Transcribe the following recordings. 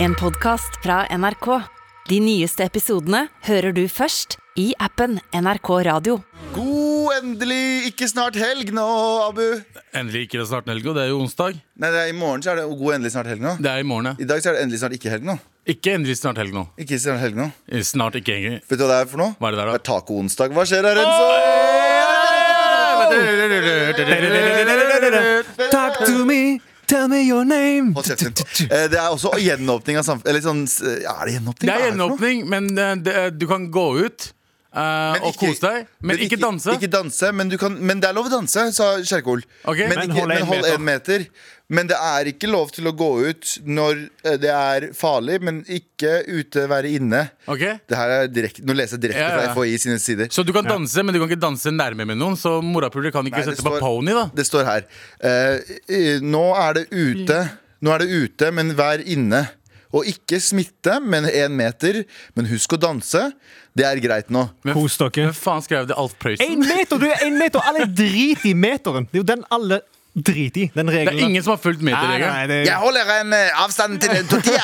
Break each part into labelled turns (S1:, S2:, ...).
S1: En podcast fra NRK. De nyeste episodene hører du først i appen NRK Radio.
S2: God, endelig! Ikke snart helg nå, Abu.
S3: Endelig ikke det snart en helg, og det er jo onsdag.
S2: Nei, det er I morgen så er det god endelig snart helg nå.
S3: Det er i morgen, ja.
S2: I dag så er det endelig snart ikke helg nå.
S3: Ikke endelig snart helg nå.
S2: Ikke snart helg nå.
S3: Eh, Snart ikke engang.
S2: Vet du hva det er for noe?
S3: Hva er det der,
S2: Det
S3: da?
S2: er taco-onsdag. Hva skjer her, Renzo?
S4: Talk to me, tell me your name.
S2: Hold kjeften. Eh, Det er også gjenåpning av samfunnet Eller sånn s- Er det gjenåpning?
S3: Det er
S2: Hva for noe?
S3: gjenåpning, men eh, det- du kan gå ut eh, og
S2: ikke-
S3: kose deg, men, ikke danse.
S2: Ikke danse, men, du kan, men det er lov å danse, sa Kjerkol.
S3: Ok.
S2: men,
S3: Men
S2: ikke,
S4: hold en
S2: men hold
S4: meter.
S2: én meter. Men det er ikke lov til å gå ut når eh, det er farlig, men ikke ute, være inne.
S3: Ok?
S2: Det her er direkte, Nå leser jeg direkte
S3: Ja, ja, ja.
S2: fra FHI sine sider.
S3: Så du kan danse, men du kan ikke danse nærme med noen, så morapuler kan ikke
S2: Nei, det
S3: sette på
S2: står-
S3: pony, da.
S2: Det står her. eh, eh, nå er det ute, Nå er det ute, men vær inne. Og ikke smitte, men én meter. Men husk å danse. Det er greit nå.
S4: Kos dere.
S3: Hvem faen skrev det? Alf
S4: Én
S3: Prøysen?
S4: meter! Du er én meter, og alle driter i meteren. Det er jo den alle driter i. Den
S3: Det
S4: regelen.
S3: er ingen som har fulgt med til
S4: Nei, nei,
S2: Eh.
S3: regelen.
S4: det er-
S2: holder en avstand til en tortilla.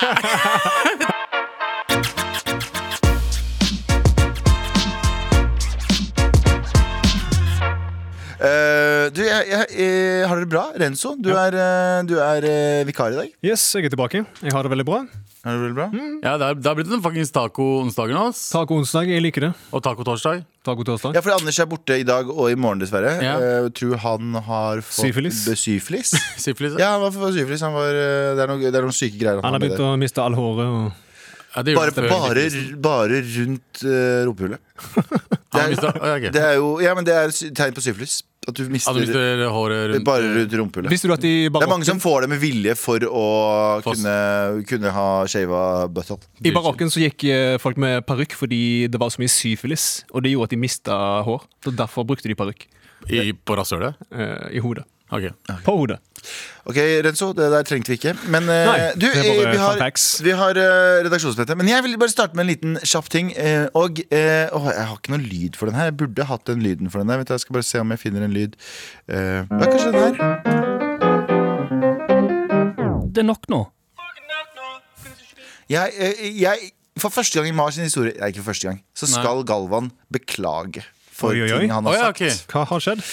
S2: du, jeg, jeg, eh, har dere det bra? Renzo, du er, eh, du er eh, vikar i dag.
S4: Yes, jeg er tilbake. Jeg har det veldig bra.
S2: Har du det bra?
S3: Ja, det har det har blitt en fuckings taco-onsdager nå, ass.
S4: Taco onsdag, jeg liker det.
S3: Og taco-torsdag.
S4: Taco torsdag.
S2: Ja, for Anders er borte i dag og i morgen, dessverre.
S3: Ja.
S2: Eh, tror han har fått
S4: Syfilis.
S2: be- syfilis.
S3: Syfilis.
S2: ja, han var for syfilis. Han var, eh, det, er noen, det er noen syke greier.
S4: Han har
S2: har med
S4: begynt
S2: det.
S4: å miste all håret. Og...
S3: Ja, det gjorde
S2: bare,
S3: det før.
S2: bare, bare rundt eh, rumpehullet.
S3: Han har mistet- Å, ja, ok.
S2: Det er jo, ja, men det er sy- tegn på syfilis. At du mister
S3: Han mister håret rundt
S2: bare rundt rumpehullet.
S4: Visste du at de
S2: Det er mange
S4: barokken,
S2: som får det med vilje for å
S3: Foss.
S2: kunne, kunne ha shava butthole.
S4: I barokken så gikk eh, folk med parykk fordi det var så mye syfilis, og det gjorde at de mista hår. Så derfor brukte de parykk
S3: i, på rasshølet.
S4: eh, i hodet.
S3: Ok.
S4: På hodet.
S2: Ok, Renzo, det der trengte vi ikke. Men eh,
S4: Nei,
S2: du,
S4: det er
S2: eh,
S4: bare
S2: vi har,
S4: fun facts.
S2: vi har eh, redaksjonsmøte. Men jeg vil bare starte med en liten kjapp ting. eh, og eh, åh, jeg har ikke noen lyd for den her. Jeg burde hatt den lyden for den der. Vet du, jeg skal bare se om jeg finner en lyd. Eh, ja, kanskje den her.
S5: Det er nok nå.
S2: Jeg, eh, jeg, for første gang i Mars sin historie Nei, ikke for første gang. Så
S3: Nei.
S2: skal Galvan beklage for
S4: Oi, oi, oi.
S2: ting han har
S3: Å, ja,
S2: sagt.
S3: ok.
S4: Hva har skjedd?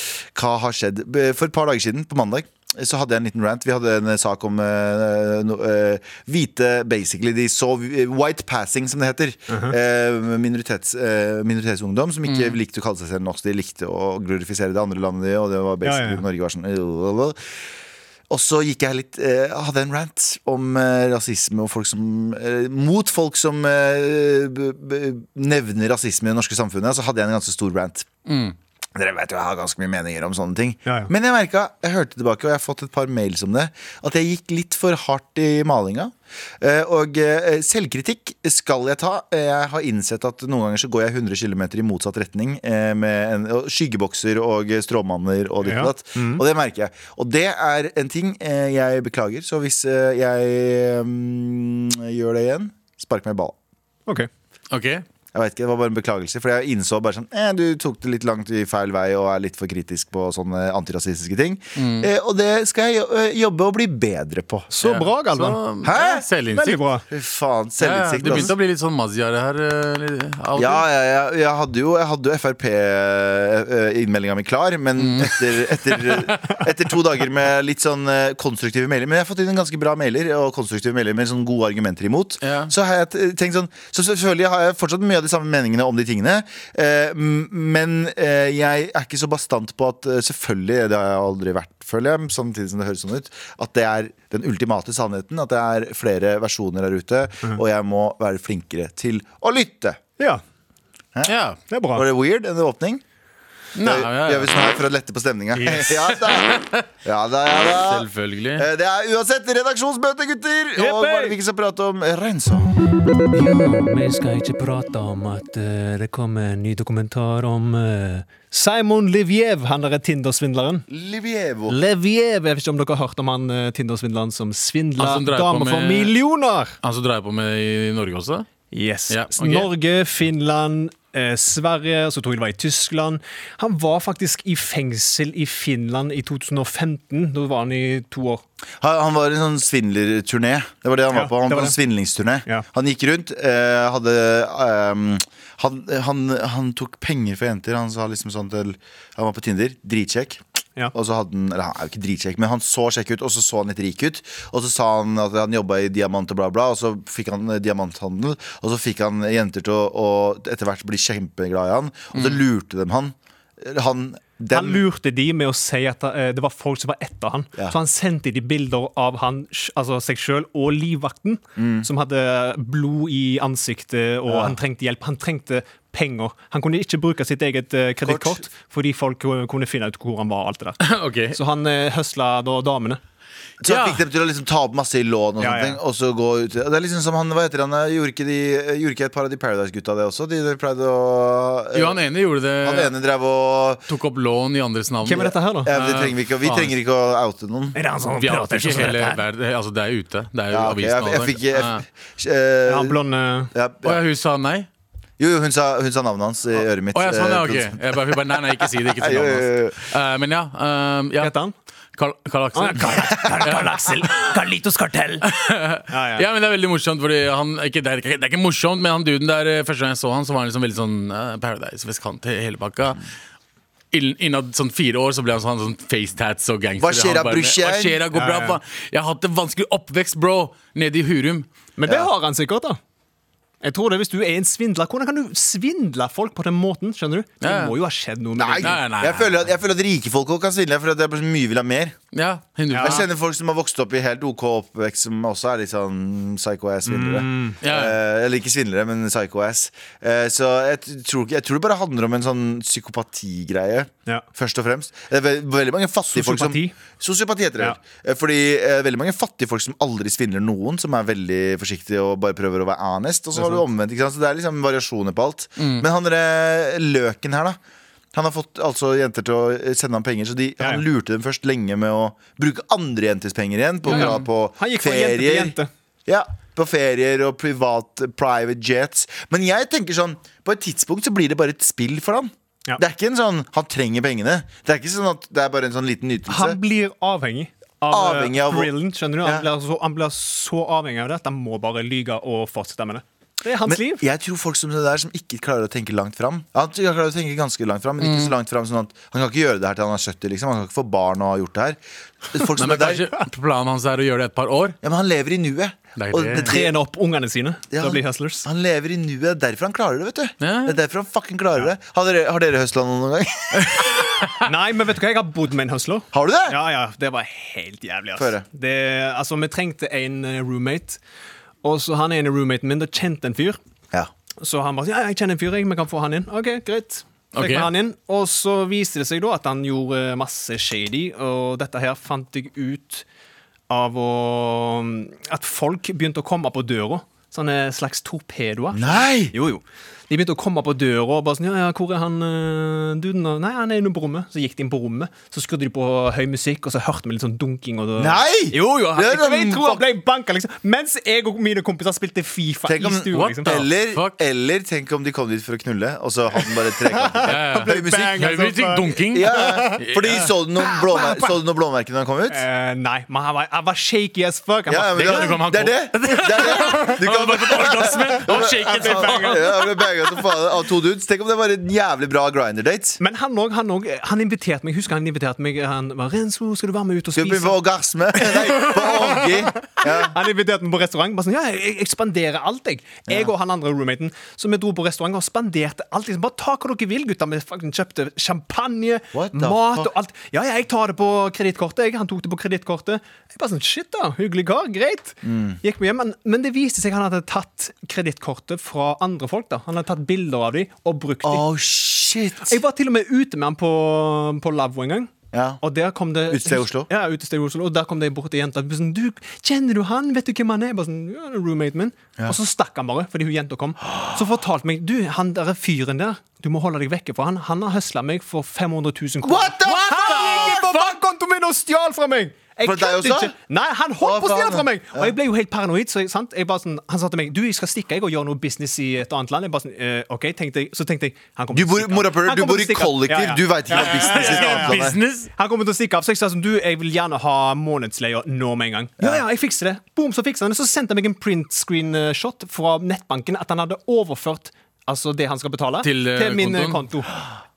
S2: hva har skjedd? B- For et par dager siden, på mandag, så hadde jeg en liten rant. Vi hadde en eh, sak om eh, no, eh, hvite Basically, de så eh, white passing, som det heter.
S4: Uh-huh.
S2: Eh, minoritets, eh, minoritetsungdom som
S4: Mm.
S2: ikke likte å kalle seg selv norsk. De likte å glorifisere det andre landet, og det var basically
S4: Ja, ja, ja.
S2: Norge var sånn øh, øh, øh. og så gikk jeg litt, eh, hadde en rant om eh, rasisme og folk som eh, Mot folk som eh, b b nevner rasisme i det norske samfunnet. Så hadde jeg en ganske stor rant. Dere vet jo jeg har ganske mye meninger om sånne ting.
S4: Ja, ja.
S2: Men jeg merket, jeg hørte tilbake, og jeg har fått et par mails om det, at jeg gikk litt for hardt i malinga. Eh, Og eh, selvkritikk skal jeg ta. Eh, Jeg har innsett at noen ganger så går jeg 100 km i motsatt retning eh, med en, og skyggebokser og stråmanner og ditt
S4: Ja. mm.
S2: og datt. Og det merker jeg. Og det er en ting eh, jeg beklager, så hvis eh, jeg mm, gjør det igjen, spark meg i balla.
S4: OK.
S3: Ok.
S2: Jeg vet ikke, Det var bare en beklagelse. For jeg innså bare sånn eh, Du tok det litt langt i feil vei og er litt for kritisk på sånne antirasistiske ting.
S3: Mm.
S2: Eh, og det skal jeg jo- eh, jobbe og bli bedre på.
S4: Så bra, Galvan.
S3: Så-
S2: Hæ?
S3: Ja,
S4: Veldig
S3: Selvinnsikt.
S4: bra.
S2: Fy faen.
S3: Ja, ja,
S2: Selvinnsikt.
S3: du begynte
S2: altså.
S3: å bli litt sånn mazziare her. eh, litt- av og til.
S2: ja, ja, ja, jeg hadde jo, jeg hadde jo eh, Frp-innmeldinga mi klar, men etter, etter, etter to dager med litt sånn eh, konstruktive mailer Men jeg har fått inn en ganske bra mailer og konstruktive mailer med sånn gode argumenter imot.
S3: Ja.
S2: Så har jeg t- tenkt sånn Så selvfølgelig har jeg fortsatt mye av de samme meningene om de tingene. eh, m- Men eh, jeg er ikke så bastant på at eh, Selvfølgelig, det har jeg aldri vært, føler jeg, samtidig som det høres sånn ut, at det er den ultimate sannheten. At det er flere versjoner der ute, og jeg må være flinkere til å lytte.
S4: Ja,
S3: Ja.
S4: det er bra.
S2: Var det weird, en åpning?
S3: Nei,
S2: Gjør-
S3: ja,
S2: Gjør
S3: ja.
S2: vi sånn her for å lette på stemninga?
S4: Yes.
S2: ja da! Ja da, ja da.
S3: Selvfølgelig.
S2: Eh, Det er uansett redaksjonsmøte, gutter! Og hva er det vi ikke skal prate om? Rensa.
S5: Vi skal ikke prate om at eh, det kommer en ny dokumentar om eh,
S4: Simon Liviev, han derre Tinder-svindleren.
S2: Livievo.
S4: Leviev, jeg vet ikke om dere har hørt om han eh, Tinder-svindleren som svindla
S3: Han som drev på
S4: damer for
S3: med-
S4: millioner!
S3: Han som dreier på med i Norge også?
S4: Yes.
S3: Ja, ok.
S4: Norge, Finland, eh, Sverige, så tror jeg det var i Tyskland. Han var faktisk i fengsel i Finland i 2015. Da var han i to år.
S2: Han, han var i en sånn svindlerturné. Det var det han
S4: Ja,
S2: var på. Han
S4: det
S2: var på
S4: var
S2: en svindlingsturné.
S4: Ja.
S2: Han gikk rundt, eh, hadde ehm, han, han, han tok penger for jenter. Han sa liksom sånn til Han var på Tinder. Dritkjekk.
S4: Ja.
S2: Og så hadde han, eller han er jo ikke dritkjekk, men han så kjekk ut, og så så han litt rik ut. Og så sa han at han jobba i diamant og bla, bla, og så fikk han eh, diamanthandel. Og så fikk han jenter til å, å etter hvert bli kjempeglad i han, og så lurte dem han. Han,
S4: Han
S2: dem,
S4: lurte de med å si at eh, det var folk som var etter han.
S2: Ja.
S4: Så han sendte de bilder av han, sj- altså seg sjøl og livvakten,
S2: Mm.
S4: som hadde blod i ansiktet, og han trengte hjelp. Han trengte penger. Han kunne ikke bruke sitt eget eh, kredittkort, fordi folk ku- kunne finne ut hvor han var. og alt det der
S3: Ok.
S4: Så han eh, høsla da damene.
S2: Så han
S3: Ja.
S2: fikk dem til å liksom ta opp masse i lån og
S4: Ja,
S2: sånne
S4: ja.
S2: ting. Og så gå ut Det er liksom som han, hva heter han Gjorde ikke, de, gjorde ikke et par av de Paradise-gutta det også? De, de pleide å eh,
S3: Jo, han ene gjorde det.
S2: Han ene drev og
S3: Tok opp lån i andres navn.
S4: Hvem er dette her, da?
S2: ja, men det trenger vi, ikke, vi
S3: faen.
S2: trenger ikke å oute noen.
S4: Er det han som
S3: Vi har
S4: prater
S3: ikke
S4: sånn som
S3: hele
S4: dette her?
S3: verden. Altså, det er ute. Det er jo
S2: Ja, ok,
S3: avisen.
S2: jeg, jeg
S3: og
S2: fikk
S3: alt.
S2: jeg,
S3: Ja.
S4: Ja,
S2: eh,
S4: han blonde
S2: ja,
S3: Å
S2: ja.
S3: ja, hun sa nei?
S2: Jo, jo, hun sa, hun sa navnet hans i øret mitt.
S3: Å ja, sånn,
S2: eh,
S3: ja, ok.
S2: produsent.
S3: Jeg bare, hun bare, nei, nei, ikke si det. Ikke si
S2: Jo,
S3: navnet
S2: jo,
S3: hans.
S2: jo.
S3: Eh, men ja. eh, ja.
S4: Hva heter han?
S3: Karl, Karl Aksel.
S4: Aksel. Carlitos Kartell. Ja, ja.
S3: Ja, men Det er veldig morsomt. Fordi han, ikke, det, er, ikke- det er ikke morsomt, men han duden der eh, første gang jeg så han, så var han liksom veldig sånn eh, Paradise, vestkant, he- hele pakka. Innen- Innad sånn fire år så ble han sånn, sånn facetats og gangster.
S2: Hva skjer'a,
S3: Han bare med,
S2: brorsan?
S3: Hva skjer'a, går bra?
S4: Ja, ja.
S3: faen. Jeg har hatt en vanskelig oppvekst, bro, nede i Hurum.
S4: Men det
S2: Ja.
S4: har han sikkert, da. Jeg tror det Hvis du er en svindler, hvordan kan du svindle folk på den måten? skjønner du? Det
S3: Ja, ja.
S4: må jo ha skjedd noe med
S2: Nei,
S3: Nei, nei,
S2: jeg
S3: nei.
S2: føler at, jeg føler at rike folk også kan svindle. For det er bare så mye vil ha mer.
S3: Ja, 100
S2: Jeg kjenner folk som har vokst opp i helt OK oppvekst, som også er litt sånn psycho-ass-svindlere.
S3: ja.
S2: Eh, eller ikke svindlere, men psycho-ass. Eh, så jeg, t- tror, ikke- jeg tror det bare handler om en sånn psykopatigreie.
S4: Ja.
S2: Først og fremst. Det er ve- veldig mange fattige folk som
S4: Sosiopati.
S2: Sosiopati heter det.
S4: Ja.
S2: Eh, Fordi eh, veldig mange fattige folk som aldri svindler noen, som er veldig forsiktige og bare prøver å være honest. Og så har du omvendt. ikke sant? Så det er liksom variasjoner på alt. Men han derre løken her, da. Han har fått altså jenter til å eh, sende ham penger, så de,
S4: ja.
S2: han lurte dem først lenge med å bruke andre jenters penger igjen. På å
S4: Ja,
S2: dra
S4: ja.
S2: på
S4: Han gikk fra jente til
S2: ferier.
S4: jente.
S2: Ja, på ferier og privat, private jets. Men jeg tenker sånn, på et tidspunkt så blir det bare et spill for han.
S4: Ja.
S2: Det er ikke en sånn, Han trenger pengene. Det er ikke sånn at det er bare en sånn liten nytelse.
S4: Han blir avhengig av,
S2: Avhengig av-
S4: thrillen. skjønner du? Han,
S2: Ja.
S4: blir så, han blir så avhengig av det at han må bare lyge og fortsette med det. Det er hans
S2: men
S4: liv.
S2: jeg tror folk som det der Som ikke klarer å tenke langt fram. Han klarer å tenke ganske langt fram, men
S3: Mm.
S2: ikke så langt fram sånn at han kan ikke gjøre det her til han er 70. Liksom. Han kan ikke få barn og ha gjort det her. Folk
S3: Nei,
S2: som
S3: men
S2: er der,
S3: kanskje planen hans er å gjøre det et par år?
S2: ja, men han lever i nuet.
S3: Det er
S2: Og
S3: det.
S2: det-
S4: Trene opp ungene sine
S2: Ja,
S4: til å bli hustlers.
S2: Han lever i nuet. Det er derfor han klarer det. vet du
S3: Ja.
S2: Det er derfor han fucking klarer det Har dere, har dere høstla noen gang?
S4: Nei, men vet du hva? Jeg har bodd med en hustler.
S2: Har du det?
S4: Ja, ja, det var helt jævlig.
S2: Få høre.
S4: Ass. Det, altså, vi trengte en eh, roommate, og så han ene roommaten min da kjente en fyr.
S2: Ja.
S4: Så han bare ja, jeg kjenner en fyr, jeg, vi kan få han inn. Ok, greit. Fikk
S3: Ok.
S4: vi han inn, Og så viste det seg da at han gjorde eh, masse shady, og dette her fant jeg ut av å At folk begynte å komme på døra. Sånne slags torpedoer.
S2: Nei!
S4: Jo, jo. De begynte å komme på døra og bare sånn Ja, ja, hvor er han eh, duden? da?» Nei, han er inne på rommet. Så gikk de inn på rommet, så skrudde de på høy musikk, og så hørte vi litt sånn dunking. Og da,
S2: Nei!
S4: Jo, jo. Han,
S2: Det er
S4: jeg, tror- jeg
S2: en
S4: tror
S2: fuck-
S4: han ble banka, liksom. Mens jeg og mine kompiser spilte Fifa
S2: Tenk
S4: i
S2: om,
S4: stua.
S3: what
S4: Liksom.
S3: the-
S2: eller,
S3: Fuck.
S2: eller tenk om de kom dit for å knulle, og så hadde han bare trekantet.
S3: Ja, ja.
S2: Høy musikk.
S4: bang.
S3: Høy musikk, dunking.
S2: Ja, ja. Fordi Så du noen blåmer- så du noen blåmerker når han kom ut?
S4: Eh, nei, men han var, han var shaky as fuck. Han
S2: Ja, ja,
S4: var
S2: men
S3: det kan du komme- han
S2: det er det! det, er det. Du kan, Altså,
S3: Og shake it,
S2: ja,
S3: baby.
S2: han ble banga som faen av to dudes. Tenk om det var en jævlig bra grinder-date.
S4: men han òg, han òg. Han inviterte meg. Husker han inviterte meg Han var, Renzo, skal du være med ut og
S2: Skal vi
S4: spise?
S2: på orgasme? Nei, på orgi. Ja.
S4: Han inviterte meg på restaurant. Bare sånn, ja, jeg jeg spanderer alt, jeg. Jeg og han andre roommaten. Så vi dro på restaurant og spanderte alt. Liksom. Bare ta hva dere vil, gutter. Vi fucking kjøpte champagne,
S2: What the
S4: mat
S2: fuck?
S4: og alt. Ja, ja, jeg tar det på kredittkortet. jeg. Han tok det på kredittkortet. Jeg bare sånn, shit da, hyggelig kar, greit.
S2: Mm.
S4: Gikk vi hjem. Men, men det viste seg han hadde tatt kredittkortet fra andre folk. da. Han hadde tatt bilder av dem og brukt dem.
S2: Oh, shit.
S4: Jeg var til og med ute med han på, på lavvo en gang.
S2: Ja.
S4: Og der kom det
S2: Utested i Oslo?
S4: Ja, utested i Oslo Og der kom det bort til jenta. og Sånn, du, 'Kjenner du han? Vet du hvem han er?' Jeg Bare sånn, ja, det er roommaten min Og så stakk han bare, fordi hun jenta kom. Så fortalte meg 'Du, han der fyren der, du må holde deg vekke fra han. Han har høsla meg for 500 000 kroner.'
S2: What the
S4: Han gikk inn på bankkontoen min og stjal fra meg! Jeg
S2: For deg
S4: kødder
S2: også?
S4: ikke. Nei, han holdt på å
S2: Å,
S4: stjele
S2: faen.
S4: fra meg! Og jeg ble jo helt paranoid. Så jeg, sant? Jeg bare sånn, han sa til meg Du, jeg skal stikke jeg og gjøre noe business i et annet land. Jeg bare sånn, «Eh, ok, tenkte jeg Så tenkte jeg han kommer
S2: Du
S4: til å
S2: bor,
S4: stikke av.
S2: morapuler,
S4: Han
S2: du
S4: kommer
S2: bor i
S4: til å stikke av.
S2: kollektiv.
S4: Ja, ja.
S2: Du veit ikke hva business i et annet land er.
S3: Business?
S4: Han kommer til å stikke av. Så jeg sa sånn, du, jeg vil gjerne ha månedsleia nå med en gang. Ja, ja, jeg fikser det. Boom, så fikser han det. Så sendte han meg en printscreen-shot fra nettbanken at han hadde overført Altså det han skal betale,
S3: Til, eh,
S4: min eh,
S3: kontoen.
S4: konto.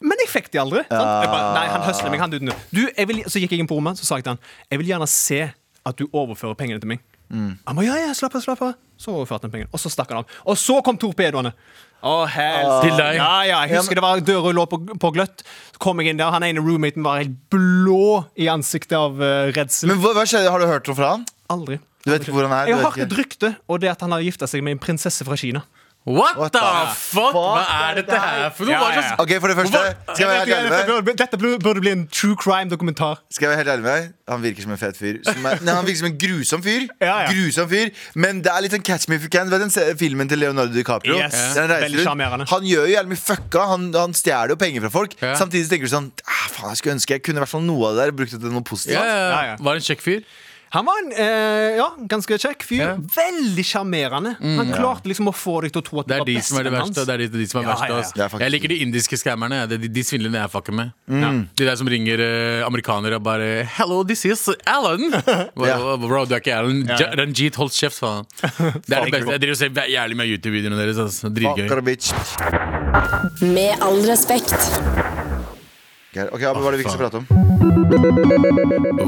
S4: Men jeg fikk de aldri. Sant? Jeg bare, nei, han høsler meg. Han duden. Du, jeg vil, så gikk jeg inn på rommet Så sa jeg til han Jeg vil gjerne se at du overfører pengene til meg.
S2: Mm.
S4: Han ba, ja, ja, slapp av, slapp av. Så overførte han pengene. Og så stakk han av. Og så kom torpedoene. Å, helsike.
S3: Til deg.
S4: Ja, Ah, ja, jeg husker det var døra lå på, på gløtt. Så kom jeg inn der, Han ene roommaten var helt blå i ansiktet av eh, redsel.
S2: Men hva, hva skjedde? Har du hørt noe fra han?
S4: Aldri.
S2: Du vet ikke hvor han er?
S4: Jeg
S2: du vet
S4: har hørt et
S2: ikke.
S4: rykte, og det er at han har gifta seg med en prinsesse fra Kina.
S3: What,
S2: What
S3: the
S2: the
S3: fuck? Hva er dette her for noe?
S4: Ja,
S3: Hva
S4: ja,
S3: slags-
S4: ja.
S2: Ok, For det første, skal jeg være helt ærlig med deg?
S4: Dette burde bli en true crime-dokumentar.
S2: Skal jeg være helt ærlig med deg? Han virker som en fet fyr. Som er, nei, han virker som en grusom fyr.
S4: Ja, ja.
S2: Grusom fyr Men det er litt sånn Catch me if you can. Du vet den se- filmen til Leonardo DiCaprio?
S4: Yes.
S2: Der Han, reiser
S4: Veldig
S2: rundt.
S4: sjarmerende.
S2: han gjør jo jævlig mye fucka. Han, han stjeler jo penger fra folk.
S3: Ja.
S2: Samtidig så tenker du sånn ah, Faen, jeg skulle ønske jeg kunne i hvert fall noe av det der brukt det til noe positivt.
S3: Ja, ja,
S4: Ja, ja.
S3: ja. Var det en kjekk fyr?
S4: Han var en eh, ja, ganske kjekk fyr.
S3: Ja.
S4: Veldig sjarmerende.
S2: Mm.
S4: Han klarte liksom å få deg til å tro at
S3: Det er
S4: du var
S3: de som er det
S4: bestevennen hans.
S3: verste. Det er de, de som er
S4: Ja,
S3: verst,
S4: ja, ja.
S3: ass.
S2: Det er faktisk-
S3: Jeg liker de indiske skammerne. ja. Det er De, de svindlerne jeg fucker med. De der som ringer eh, amerikanere og bare 'Hello, this is Alan'. Bro,
S2: Ja.
S3: bro du er ikke Alan. Ja. Ranjit, hold kjeft, faen. Det er det beste. Jeg driver og ser jæ- jævlig mye YouTube-videoene deres. ass. Dritgøy.
S2: Fucker a bitch.
S6: Med all respekt.
S2: Ok,
S3: Ah,
S2: Abel, Hva er det vi ikke skal prate om?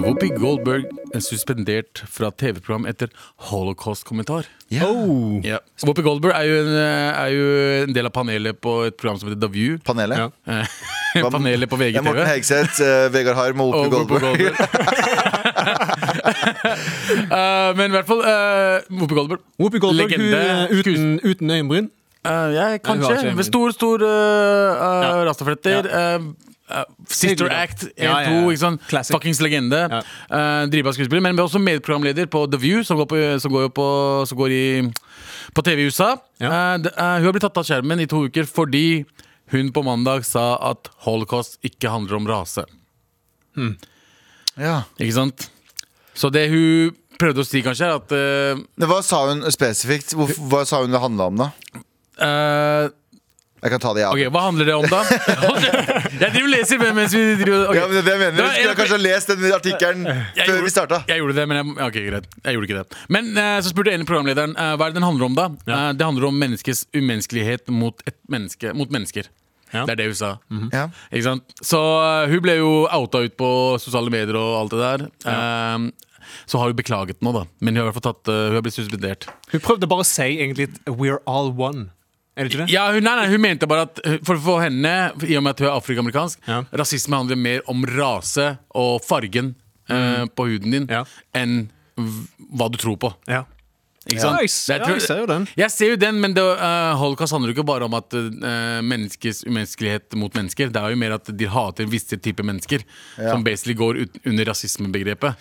S3: Whoopi Goldberg er suspendert fra TV-program etter holocaust-kommentar.
S4: Oh.
S3: Ja. Whoopi Goldberg er jo, en, eh, er jo en del av panelet på et program som heter The View.
S2: Panelet?
S4: Ja.
S3: Eh,
S2: Hva-
S3: panelet på
S2: Det er Morten
S3: VGTV.
S2: Hegseth, eh, Vegard Harm og Ope
S3: Og Whoopi
S2: Goldberg.
S3: Goldberg. Eh, men i hvert fall eh, Whoopi Goldberg.
S4: Whoopi Goldberg
S3: Legende.
S4: hun, eh, uten, uten øyenbryn.
S3: Eh, ja,
S4: Nei, hun har ikke
S3: kanskje.
S4: en
S3: Med stor, stor uh,
S4: Ja.
S3: rastafletter. eh, eh, Sister
S4: Hyggelig, da.
S3: Act 1-2.
S4: Ja, ja, ja.
S3: ikke sant?
S4: Classic.
S3: Fuckings legende.
S4: Ja.
S3: Eh, Driva skuespiller. Men også medprogramleder på The View, som går, på, som går, jo på, som går i, på TV i USA.
S4: Ja.
S3: Eh, d- eh, hun har blitt tatt av skjermen i to uker fordi hun på mandag sa at holocaust ikke handler om rase.
S2: Ja.
S3: Ikke sant? Så det hun prøvde å si, kanskje, er at eh,
S2: Men Hva sa hun spesifikt? Hvor, hva sa hun det handla om, da?
S3: eh,
S2: Jeg kan ta det, jeg.
S3: Ok, Hva handler det om, da? jeg driver og leser men- mens vi driver ok.
S2: Ja, men det er det jeg mener.
S3: Det
S2: Du
S3: var
S2: skulle
S3: en-
S2: kanskje ha lest den artikkelen
S3: Jeg
S2: før
S3: gjorde-
S2: vi starta.
S3: Jeg gjorde det, men jeg, ja, ok, greit. jeg gjorde ikke det. Men eh, så spurte jeg en av programlederen eh, hva er det den handler om, da. Eh, det handler om menneskets umenneskelighet mot, et menneske, mot mennesker.
S4: Ja.
S3: Det er det hun sa.
S2: Ja.
S3: Ikke sant? Så eh, hun ble jo outa ut på sosiale medier og alt det der. Eh, så har hun beklaget nå, da. Men hun har i hvert fall tatt, eh, hun har blitt suspendert.
S4: Hun prøvde bare å si egentlig at we're all one. Er det ikke det?
S3: Ja, hun, nei, nei, hun mente bare at for, for henne, i og med at hun er afroamerikansk,
S4: Ja.
S3: rasisme handler mer om rase og fargen eh, på huden din
S4: Mm. Ja.
S3: enn v- hva du tror på.
S4: Ja.
S3: Ikke
S4: Ja,
S3: sant?
S4: jeg s-
S3: Det er-
S4: ja, jeg ser jo den.
S3: Jeg ser jo den, men det, eh, holocaust handler jo ikke bare om at eh, menneskes umenneskelighet mot mennesker. Det er jo mer at de hater visse typer mennesker, som basically går ut, under rasismebegrepet.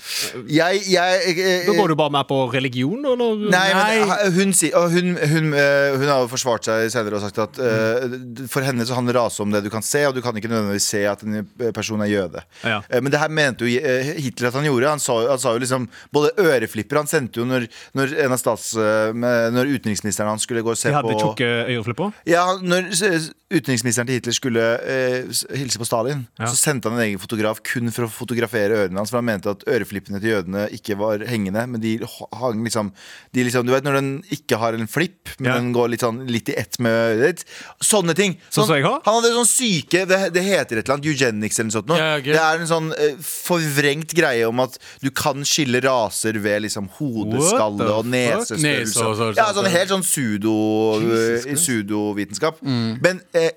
S2: Jeg, jeg, eh,
S4: Da går du bare med på religion, eller?
S2: Nei, men ha- hun, sier- og hun, hun, eh, hun har jo forsvart seg senere og sagt at eh, d- for henne så handler rase om det du kan se, og du kan ikke nødvendigvis se at en eh, person er jøde.
S4: Ja.
S2: Eh, Men det her mente jo eh, Hitler at han gjorde. Han sa, jo- han sa jo liksom både øreflipper Han sendte jo når, når, en av stats, eh, med- når utenriksministeren hans skulle gå og se
S4: De hadde
S2: på
S4: tjukke øreflipper?
S2: Ja, han- når s- s- utenriksministeren til Hitler skulle eh, s- hilse på Stalin,
S4: Ja.
S2: så sendte han en egen fotograf kun for å fotografere ørene hans. For han mente at øreflippene til jødene ikke var hengende, men de h- hang liksom, de liksom Du vet når den ikke har en flipp, men
S4: Ja.
S2: den går litt, sånn, litt i ett med øret ditt. Sånne ting.
S4: Sånn som jeg har?
S2: han hadde sånn syke Det, det heter et eller annet eugenics eller noe sånt. nå.
S3: Ja, ok.
S2: Det er en sånn eh, forvrengt greie om at du kan skille raser ved liksom hodeskalle
S4: the
S2: og
S4: fuck?
S3: Nese og
S2: nesestørrelse.
S3: så-
S2: Ja, sånn helt sånn sudo
S4: Jesus
S2: i pseudovitenskap. Men eh,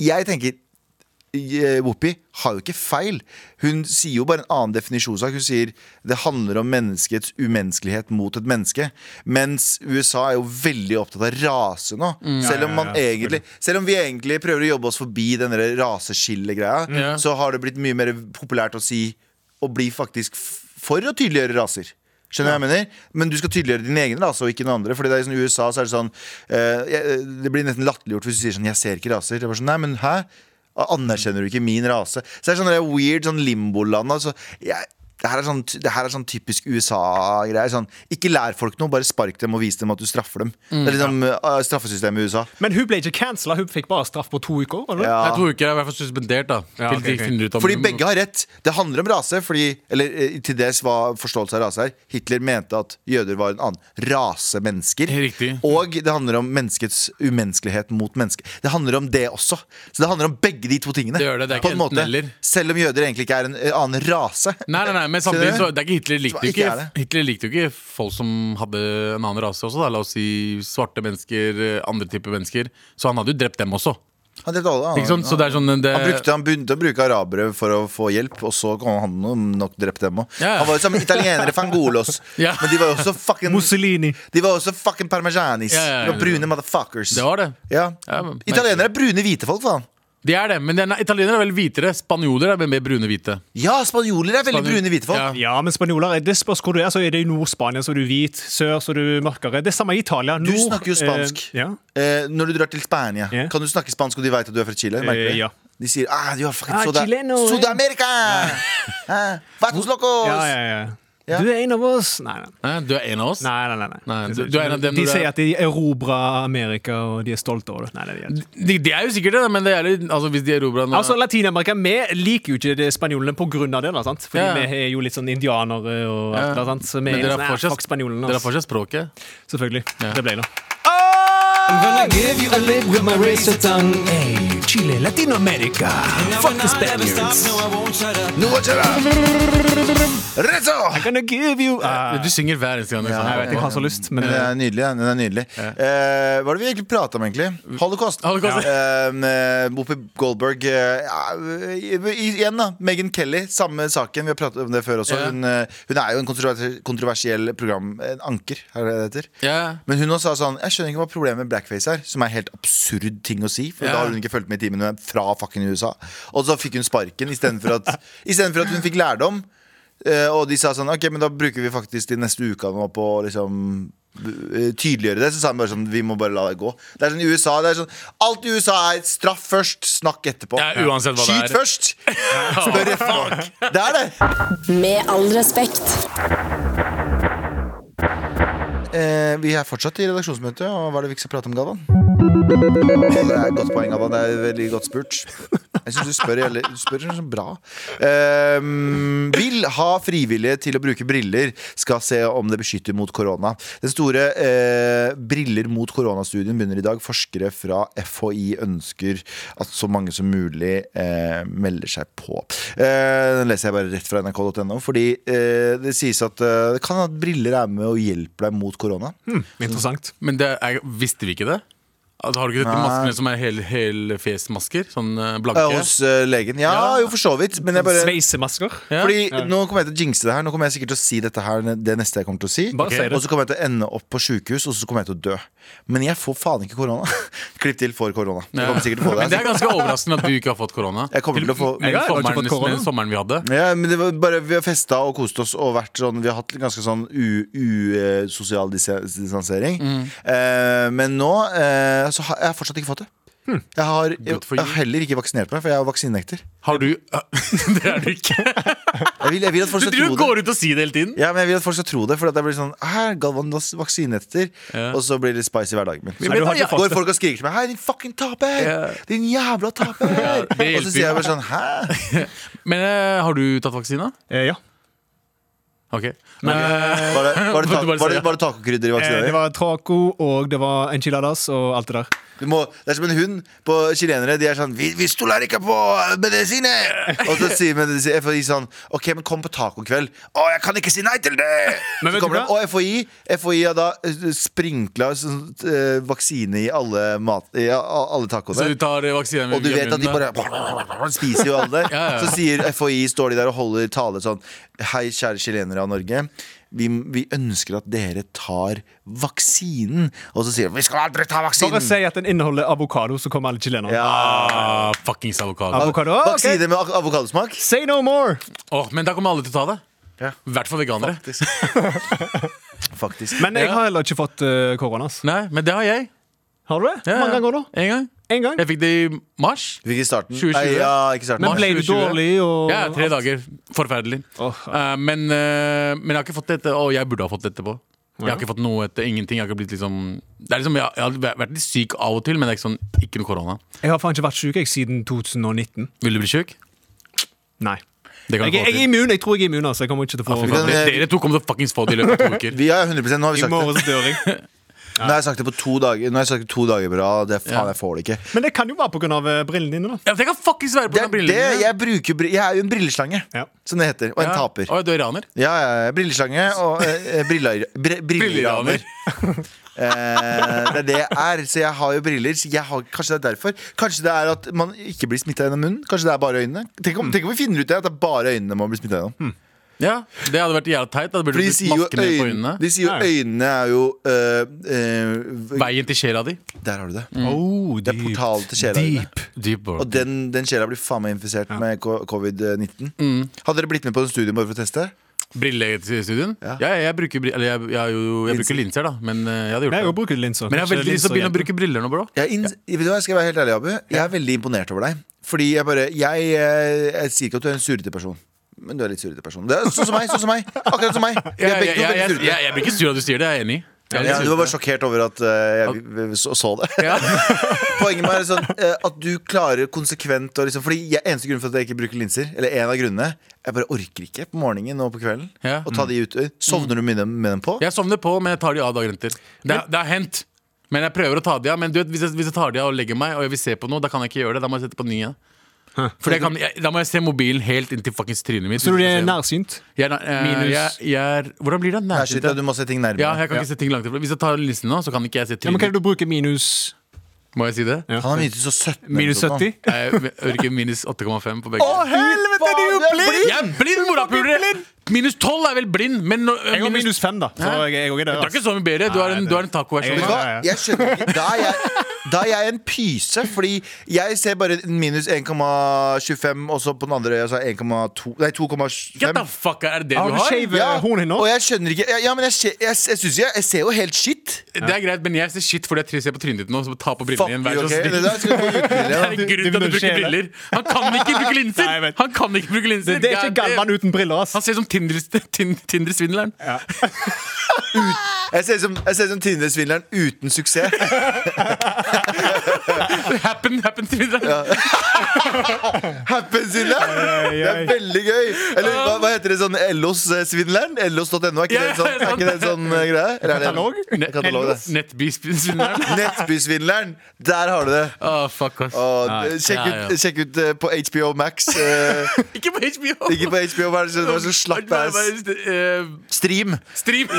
S2: jeg tenker eh, Whoopi har jo ikke feil. Hun sier jo bare en annen definisjonssak. Hun sier det handler om menneskets umenneskelighet mot et menneske. Mens USA er jo veldig opptatt av rase nå. Selv, om man egentlig, selv om vi egentlig prøver å jobbe oss forbi den der raseskillegreia,
S3: Ja.
S2: så har det blitt mye mer populært å si å bli faktisk f- for å tydeliggjøre raser. Skjønner du hva jeg mener? Men du skal tydeliggjøre din egen rase og ikke noen andre. Fordi det er sånn, I USA så er det sånn eh, jeg, Det blir nesten latterliggjort hvis du sier sånn 'jeg ser ikke raser'. Det er bare sånn, Nei, men hæ? Anerkjenner du ikke min rase? Så det er sånn der weird sånn limboland. Altså, jeg, Det her er sånn, det her er sånn typisk USA-greier. Sånn, ikke lær folk noe, bare spark dem og vis dem at du straffer dem. det er liksom eh, straffesystemet i USA.
S4: Men hun ble ikke cancela, hun fikk bare straff på to uker. var det det?
S3: Jeg tror ikke jeg er i hvert fall suspendert, da.
S4: Ja,
S3: til
S4: ok,
S3: de
S4: ok.
S3: finner ut om
S2: Fordi begge har rett. Det handler om rase. Fordi, eller eh, til dels var forståelse av rase her. Hitler mente at jøder var en annen rase mennesker.
S3: Riktig.
S2: Og det handler om menneskets umenneskelighet mot mennesker. Det handler om det også. Så det handler om begge de to tingene.
S3: Det gjør det, det er
S2: på
S3: ikke
S2: en måte.
S3: enten eller.
S2: Selv om jøder egentlig ikke er en eh, annen rase.
S3: Nei, nei, nei, men
S2: Ser
S3: samtidig
S2: dere?
S3: så det er ikke Hitler likte
S2: Ikke
S3: jo ikke,
S2: er det.
S3: Hitler likte jo ikke folk som hadde en annen rase også. Da. La oss si svarte mennesker, eh, andre typer mennesker. Så han hadde jo drept dem også.
S2: Han drepte alle. Han,
S3: Ikke sant? Så det er sånn det,
S2: han, brukte, han begynte å bruke arabere for å få hjelp, og så kom han og nok drepte dem òg.
S3: Ja, ja.
S2: Han var jo sammen med italienere fra Angolos,
S3: Ja.
S2: men de var jo også fucking
S4: Mussolini.
S2: De var også fucking parmesanis.
S3: Ja, ja, ja.
S2: De var brune motherfuckers.
S3: det var det.
S2: Ja.
S3: Ja, men-
S2: Italienere er brune hvite folk, faen.
S3: De er det, men det er- nei, italienere er vel hvitere. Spanjoler er vel mer brune-hvite.
S2: Ja, spanjoler er veldig
S3: Spanjol-
S2: brune hvite folk.
S3: Ja.
S4: Ja, men spanjoler, eh, det spørs hvor du er. Så er det i Nord-Spania så er du hvit, sør så er du mørkere. Det er samme i Italia. Nord,
S2: snakker jo spansk.
S4: Eh, ja.
S2: Eh, når du drar til Spania,
S4: Ja.
S2: kan du snakke spansk, og de veit at du er fra Chile? merker du
S4: Eh,
S2: det?
S4: ja.
S2: De sier ah, du er fucking
S5: Ah,
S2: Suda-
S5: chileno, eh."
S2: Sud-America! Ah, Vatos locos!
S4: Ja, ja, ja.
S2: Ja.
S4: Du er en av oss. Nei, nei.
S3: Nei, du er en av oss?
S4: Nei, nei, nei,
S3: Nei, du- du er en av dem
S4: de
S3: når du er-
S4: sier at de erobra Amerika, og de er stolte over det. Nei, nei, det er ikke.
S3: De, de er jo sikkert det, men det gjelder altså, hvis de erobrer
S4: Altså, Latin-Amerika, vi liker jo ikke det spanjolene på grunn av det. da, sant? Fordi
S3: Ja.
S4: vi er jo litt sånn indianere og alt det der. sant? Så vi
S3: Men
S4: er
S3: dere
S4: sånn,
S3: har
S4: "Nei, fuck
S3: fortsatt,
S4: spanjolene.
S3: dere har
S4: ass."
S3: fortsatt språket.
S4: Selvfølgelig. Det ble det.
S5: I'm gonna give you a lick with my razor tongue. Hey, Chile, Latin America. Fuck the Spaniards.
S2: Noe til deg. Rezzo!
S4: Gonna give you Ah,
S3: Du synger hver eneste gang. liksom.
S4: Jeg vet jeg har så lyst, men
S2: Den er nydelig. Den den er nydelig. Eh, hva er det vi egentlig prata om, egentlig? Holocaust.
S3: Holocaust.
S2: Ja. Eh, Whoopi Goldberg eh, ja, i- Igjen, da. Megan Kelly, samme saken. Vi har pratet om det før også.
S3: Ja.
S2: Hun, eh, hun er jo en kontrover- kontroversiell program En anker, er det det heter.
S3: Ja.
S2: Men hun også sa sånn Jeg skjønner ikke hva problemet med blackface er. Som er helt absurd ting å si. For
S3: Ja.
S2: da har hun ikke fulgt med i timen hun er fra fucking USA. Og så fikk hun sparken istedenfor at, i stedet for at hun fikk lærdom. Eh, og de sa sånn Ok, men da bruker vi faktisk de neste ukene nå på å liksom eh, tydeliggjøre det. Så sa han bare sånn Vi må bare la det gå. Det er sånn i USA det er sånn, Alt i USA er straff først, snakk etterpå.
S3: Ja, uansett hva
S2: Skyt
S3: det er.
S2: først! Spør etterpå. Det er det.
S6: Med all respekt.
S2: Eh, vi er fortsatt i redaksjonsmøte, og hva er det vi ikke skal prate om, Galvan? Det er et godt poeng, Galvan. Det er veldig godt spurt. Jeg syns du spør, jævlig- du spør så bra. Eh, vil ha frivillige til å bruke briller. Skal se om det beskytter mot korona. Den store eh, Briller mot koronastudien begynner i dag. Forskere fra FHI ønsker at så mange som mulig eh, melder seg på. Eh, den leser jeg bare rett fra nrk.no, fordi eh, det sies at eh, det kan at briller er med og hjelper deg mot korona.
S4: hmm, interessant.
S3: Men det er, visste vi ikke det? Altså, har du ikke sett de maskene som er hel, helfjesmasker? Sånn eh, blanke?
S2: Eh, Hos eh, legen. Ja,
S3: Ja.
S2: jo, for så vidt. Men jeg bare
S4: Sveisemasker.
S3: Ja.
S2: Fordi Nå kommer jeg til å jinxe det her. Nå kommer jeg sikkert til å si dette her det neste jeg kommer til å si.
S4: Bare si det.
S2: Og så kommer jeg til å ende opp på sjukehus, og så kommer jeg til å dø. Men jeg får faen ikke korona. Klipp til for korona. Jeg
S3: Ja.
S2: kommer sikkert til å få
S3: Men det
S2: det.
S3: er ganske overraskende at du ikke har fått korona.
S2: Jeg kommer til å få
S3: Med
S4: Jeg har ikke
S3: sommeren,
S4: fått korona.
S3: med sommeren vi hadde.
S2: ja, men det var bare, Vi har festa og kost oss og vært sånn Vi har hatt ganske sånn usosial distansering.
S3: Mm.
S2: Eh, men nå eh, så har jeg har fortsatt ikke fått det. Jeg, har, jeg,
S3: Hm. Good for
S2: jeg
S3: you.
S2: har heller ikke vaksinert meg, for jeg er vaksinenekter.
S3: Har du Det er du ikke.
S2: Jeg vil, jeg vil at folk
S3: Du
S2: skal tro
S3: driver og
S2: det.
S3: går ut og sier det hele tiden.
S2: Ja, men jeg vil at folk skal tro det, for at jeg blir sånn Her, Galvan vas- vaksinenekter.
S3: Ja.
S2: Og så blir det spice i hverdagen min. Så
S4: Nei, du har ikke fått
S2: går folk og skriker til meg Hei, din fucking taper!
S3: Ja.
S2: Din jævla taper!
S3: det
S2: og så
S3: hjelper
S2: sier jeg
S3: jo.
S2: bare sånn Hæ?
S3: Men eh, har du tatt vaksina?
S4: Eh, ja.
S3: Ok.
S4: Men, eh,
S2: Var det, var det,
S3: Måtte
S2: ta-
S3: bare si
S2: var det,
S3: ja.
S2: var det tacokrydder i
S4: eh, det
S2: vaksinen?
S4: var taco, og det var enchiladas og alt det der.
S2: Du må, det er som en hund på chilenere. De er sånn Vi, vi stoler ikke på eh, medisiner! Og så sier medisiner, FHI sånn OK, men kom på tacokveld. Å, jeg kan ikke si nei til det! Så
S4: Men vet du
S2: kommer de,
S4: hva?
S2: og FHI, FHI har da eh, sprinkla sånn, eh, vaksine i alle, mat, i a- alle tacoene.
S3: Så du tar eh, vaksinen
S2: Og du
S3: via
S2: vet at de
S3: munnen, da?
S2: bare spiser jo alle det.
S3: Ja, ja.
S2: Så sier FHI, står de der og holder tale sånn Hei, kjære chilenere av Norge. Vi, vi ønsker at dere tar vaksinen. Og så sier de vi skal aldri ta
S4: Bare
S3: Mm.
S2: vaksinen!
S4: si at den inneholder avokado, så kommer alle chilenere.
S2: Ja.
S3: Ah, fuckings avokado.
S4: Avokado, ok.
S2: Vaksine med ak- avokadosmak.
S4: Say no more!
S3: Åh, men da kommer alle til å ta det.
S2: Ja.
S3: I hvert fall veganere.
S2: Faktisk.
S4: Men jeg
S3: Ja.
S4: har heller ikke fått eh, korona. ass.
S3: Nei, men det har jeg.
S4: Har du det? Hvor
S3: Ja, ja.
S4: mange ganger da?
S3: En gang.
S4: En gang.
S3: Jeg fikk det i mars.
S2: Du fikk ikke starten?
S3: 2020?
S2: Nei, ja, ikke starten.
S4: Men
S3: Mars
S4: ble du
S3: 2020.
S4: dårlig og
S3: Ja, tre dager. Forferdelig.
S4: Åh.
S3: Eh, men, eh, men jeg har ikke fått dette, og jeg burde ha fått dette på. Jeg har ikke fått noe etter ingenting. Jeg har ikke blitt liksom Det er liksom, jeg, jeg har vært litt syk av og til, men det er ikke sånn Ikke noe korona.
S4: Jeg har faen ikke vært syk jeg, siden 2019.
S3: Vil du bli syk?
S4: Nei.
S3: Det kan
S4: Jeg,
S3: du
S4: jeg
S3: få
S4: er
S3: til.
S4: immun. Jeg tror jeg er immun. altså Jeg kommer ikke til å
S3: Å, fy
S4: få
S3: faen, dere- Dere to kommer til å fuckings få det i løpet av to uker.
S2: Vi er 100 Nå har vi
S4: I
S2: sagt det.
S4: morgen så dør jeg.
S2: Nå har jeg sagt det på to dager Nå har jeg sagt det to dager på rad. Det- Faen,
S3: Ja.
S2: jeg får det ikke.
S4: Men det kan jo være pga. eh, brillene dine. da
S3: Ja, det kan fuckings være
S2: Det
S3: pga.
S2: er det
S3: brillene.
S2: jeg bruker bri- Jeg er jo en brilleslange,
S4: Ja.
S2: som det heter. Og en taper.
S3: Å, du er iraner?
S2: Ja, ja, ja, brilleslange og eh, eh, briller, br brilleraner.
S3: Brilleraner.
S2: Eh, det er det jeg er. Så jeg har jo briller. Så jeg har, kanskje det er derfor. Kanskje det er at man ikke blir smitta gjennom munnen. Kanskje det er bare øynene. Tenk om, tenk om vi finner ut det, at det er bare øynene man blir smittet gjennom.
S3: Ja, det hadde vært jævla teit. Da
S2: For
S3: burde du
S2: de
S3: blitt
S2: sier jo
S3: maske Hmm. ned på
S2: øynene,
S3: øynene.
S2: de sier jo
S4: Ja.
S2: øynene er jo eh, eh, v-
S3: Veien til sjela di.
S2: Der har du det.
S3: Mm.
S4: Oh,
S2: Det er portal til sjela dine.
S4: Deep.
S3: Deep
S2: Og den, den sjela blir faen meg infisert med ko- covid-19.
S3: Mm.
S2: Hadde dere blitt med på en studie bare for å teste?
S3: Brillestudien?
S2: Ja.
S3: Ja. ja, jeg bruker, bri- eller jeg, jeg, har jo- jeg bruker linser, da. Men eh, jeg hadde gjort
S4: Jeg har jo
S3: det.
S4: brukt linser.
S3: Men jeg har
S4: Kanskje
S3: veldig lyst til å begynne å
S4: linser
S3: bruke briller nå, bro.
S2: Jeg, er inn, Vet du hva, skal jeg være helt ærlig, Abu? Jeg er veldig imponert over deg. Fordi jeg bare Jeg, eh, jeg sier ikke at du er en surrete person. Men du er litt surrete person. Det er sånn som meg! sånn som meg Akkurat som meg! Vi er
S3: Jeg, jeg,
S2: begge
S3: jeg,
S2: to
S3: jeg,
S2: veldig
S3: jeg,
S2: surrete.
S3: jeg blir ikke sur av at du sier det, jeg er enig. Jeg er
S2: Ja,
S3: litt
S2: du var bare
S3: surrete.
S2: sjokkert over at eh, jeg vi- vi så, så det.
S3: ja.
S2: Poenget med er sånn eh, at du klarer konsekvent å liksom, Fordi jeg, eneste grunnen for at jeg ikke bruker linser, eller en av grunnene Jeg bare orker ikke på morgenen og på kvelden
S3: Ja.
S2: å ta de ut. Sovner du mye med dem på?
S3: Jeg sovner på, men jeg tar de av dagen etter. Det, er- det har hendt. Men jeg prøver å ta de av. Men du vet, hvis, jeg, hvis jeg tar de av og legger meg, og jeg vil se på noe, da kan jeg ikke gjøre det. Da må jeg sette på nye. For jeg kan, jeg, da må jeg se mobilen helt inntil fuckings trynet mitt.
S4: Så du er
S3: Jeg-
S4: nærsynt?
S3: jeg, er- eh,
S4: minus-
S3: jeg, jeg er, Hvordan blir det?
S2: Nei, shit, ja,
S3: Nærsynt?
S2: du må se ting nærmere.
S3: Ja, jeg kan ikke se ting langt ifra. Hvis jeg tar linsen nå, så kan ikke jeg se
S4: Ja, men Kan
S3: trynet.
S4: du bruke minus
S3: Må jeg si det?
S4: Ja.
S2: Han har minus 17. eller
S4: Minus
S2: noe sånt nå.
S4: 70?
S3: Jeg ørker minus 8,5 på begge.
S4: helvete,
S2: du er jo blind!
S3: jeg er blind, morapulere! Minus 12 er vel blind, men nå-
S4: Jeg har minus fem, da. Så jeg, jeg, er også der,
S3: Du er
S4: altså.
S3: ikke så mye bedre. Du er
S4: Nei,
S3: en,
S4: det-
S3: du er en tacoversjon.
S2: Vet du
S4: Ja,
S2: hva?
S4: ja, ja.
S2: Jeg skjønner ikke. Da er jeg, da er jeg en pyse, fordi jeg ser bare minus 1,25, og så på den andre øya så er 1,2 Nei, 2,5.
S3: Get the fuck out, Er det det
S4: Har
S3: du
S4: du
S3: har?
S4: shave hornet nå?
S2: og jeg skjønner ikke Ja, ja men jeg, skje- jeg, jeg synes jeg, jeg ser jo helt shit.
S3: Det er greit, men jeg ser shit fordi jeg trives på trynet ditt nå. Så ta på
S2: Fuck you,
S3: brillene igjen. Vær så
S2: ok?
S3: snill.
S2: Det der skal du få utbilde,
S3: Det
S2: ja.
S3: er en grunn til
S4: Du- du
S3: at du bruker
S4: skjeler.
S3: briller. Han kan ikke bruke linser!
S4: Nei, jeg vet.
S3: Han kan ikke bruke linser
S4: Det, det er ikke
S3: Ja,
S4: Galvan uten briller, ass.
S3: Han ser ut som Tinder- Tin- Tinder-svindleren.
S2: Jeg ser ut som, jeg ser ut som Tinder-svindleren uten suksess.
S3: Happen, happen svindleren.
S2: Happen svindleren! Det er veldig gøy. Eller hva, hva heter det sånn LOS-svindleren? LOS.no, er ikke det en sånn, er ikke det en sånn eh, greie? Eller er det en-
S4: Katalog?
S2: en Katalog, det.
S3: Nettby-svindleren.
S2: Nettbysvindleren! Der har du det.
S3: Å, fuck, ass.
S2: Og, eh, sjekk,
S3: Ja, ja.
S2: Ut, sjekk ut eh, på HBO Max. eh,
S3: Ikke på HBO!
S2: ikke på HBO, hva er det som- hva er det som slapp
S3: Bare-
S2: ass?
S3: bare, eh,
S2: Stream.
S3: Stream!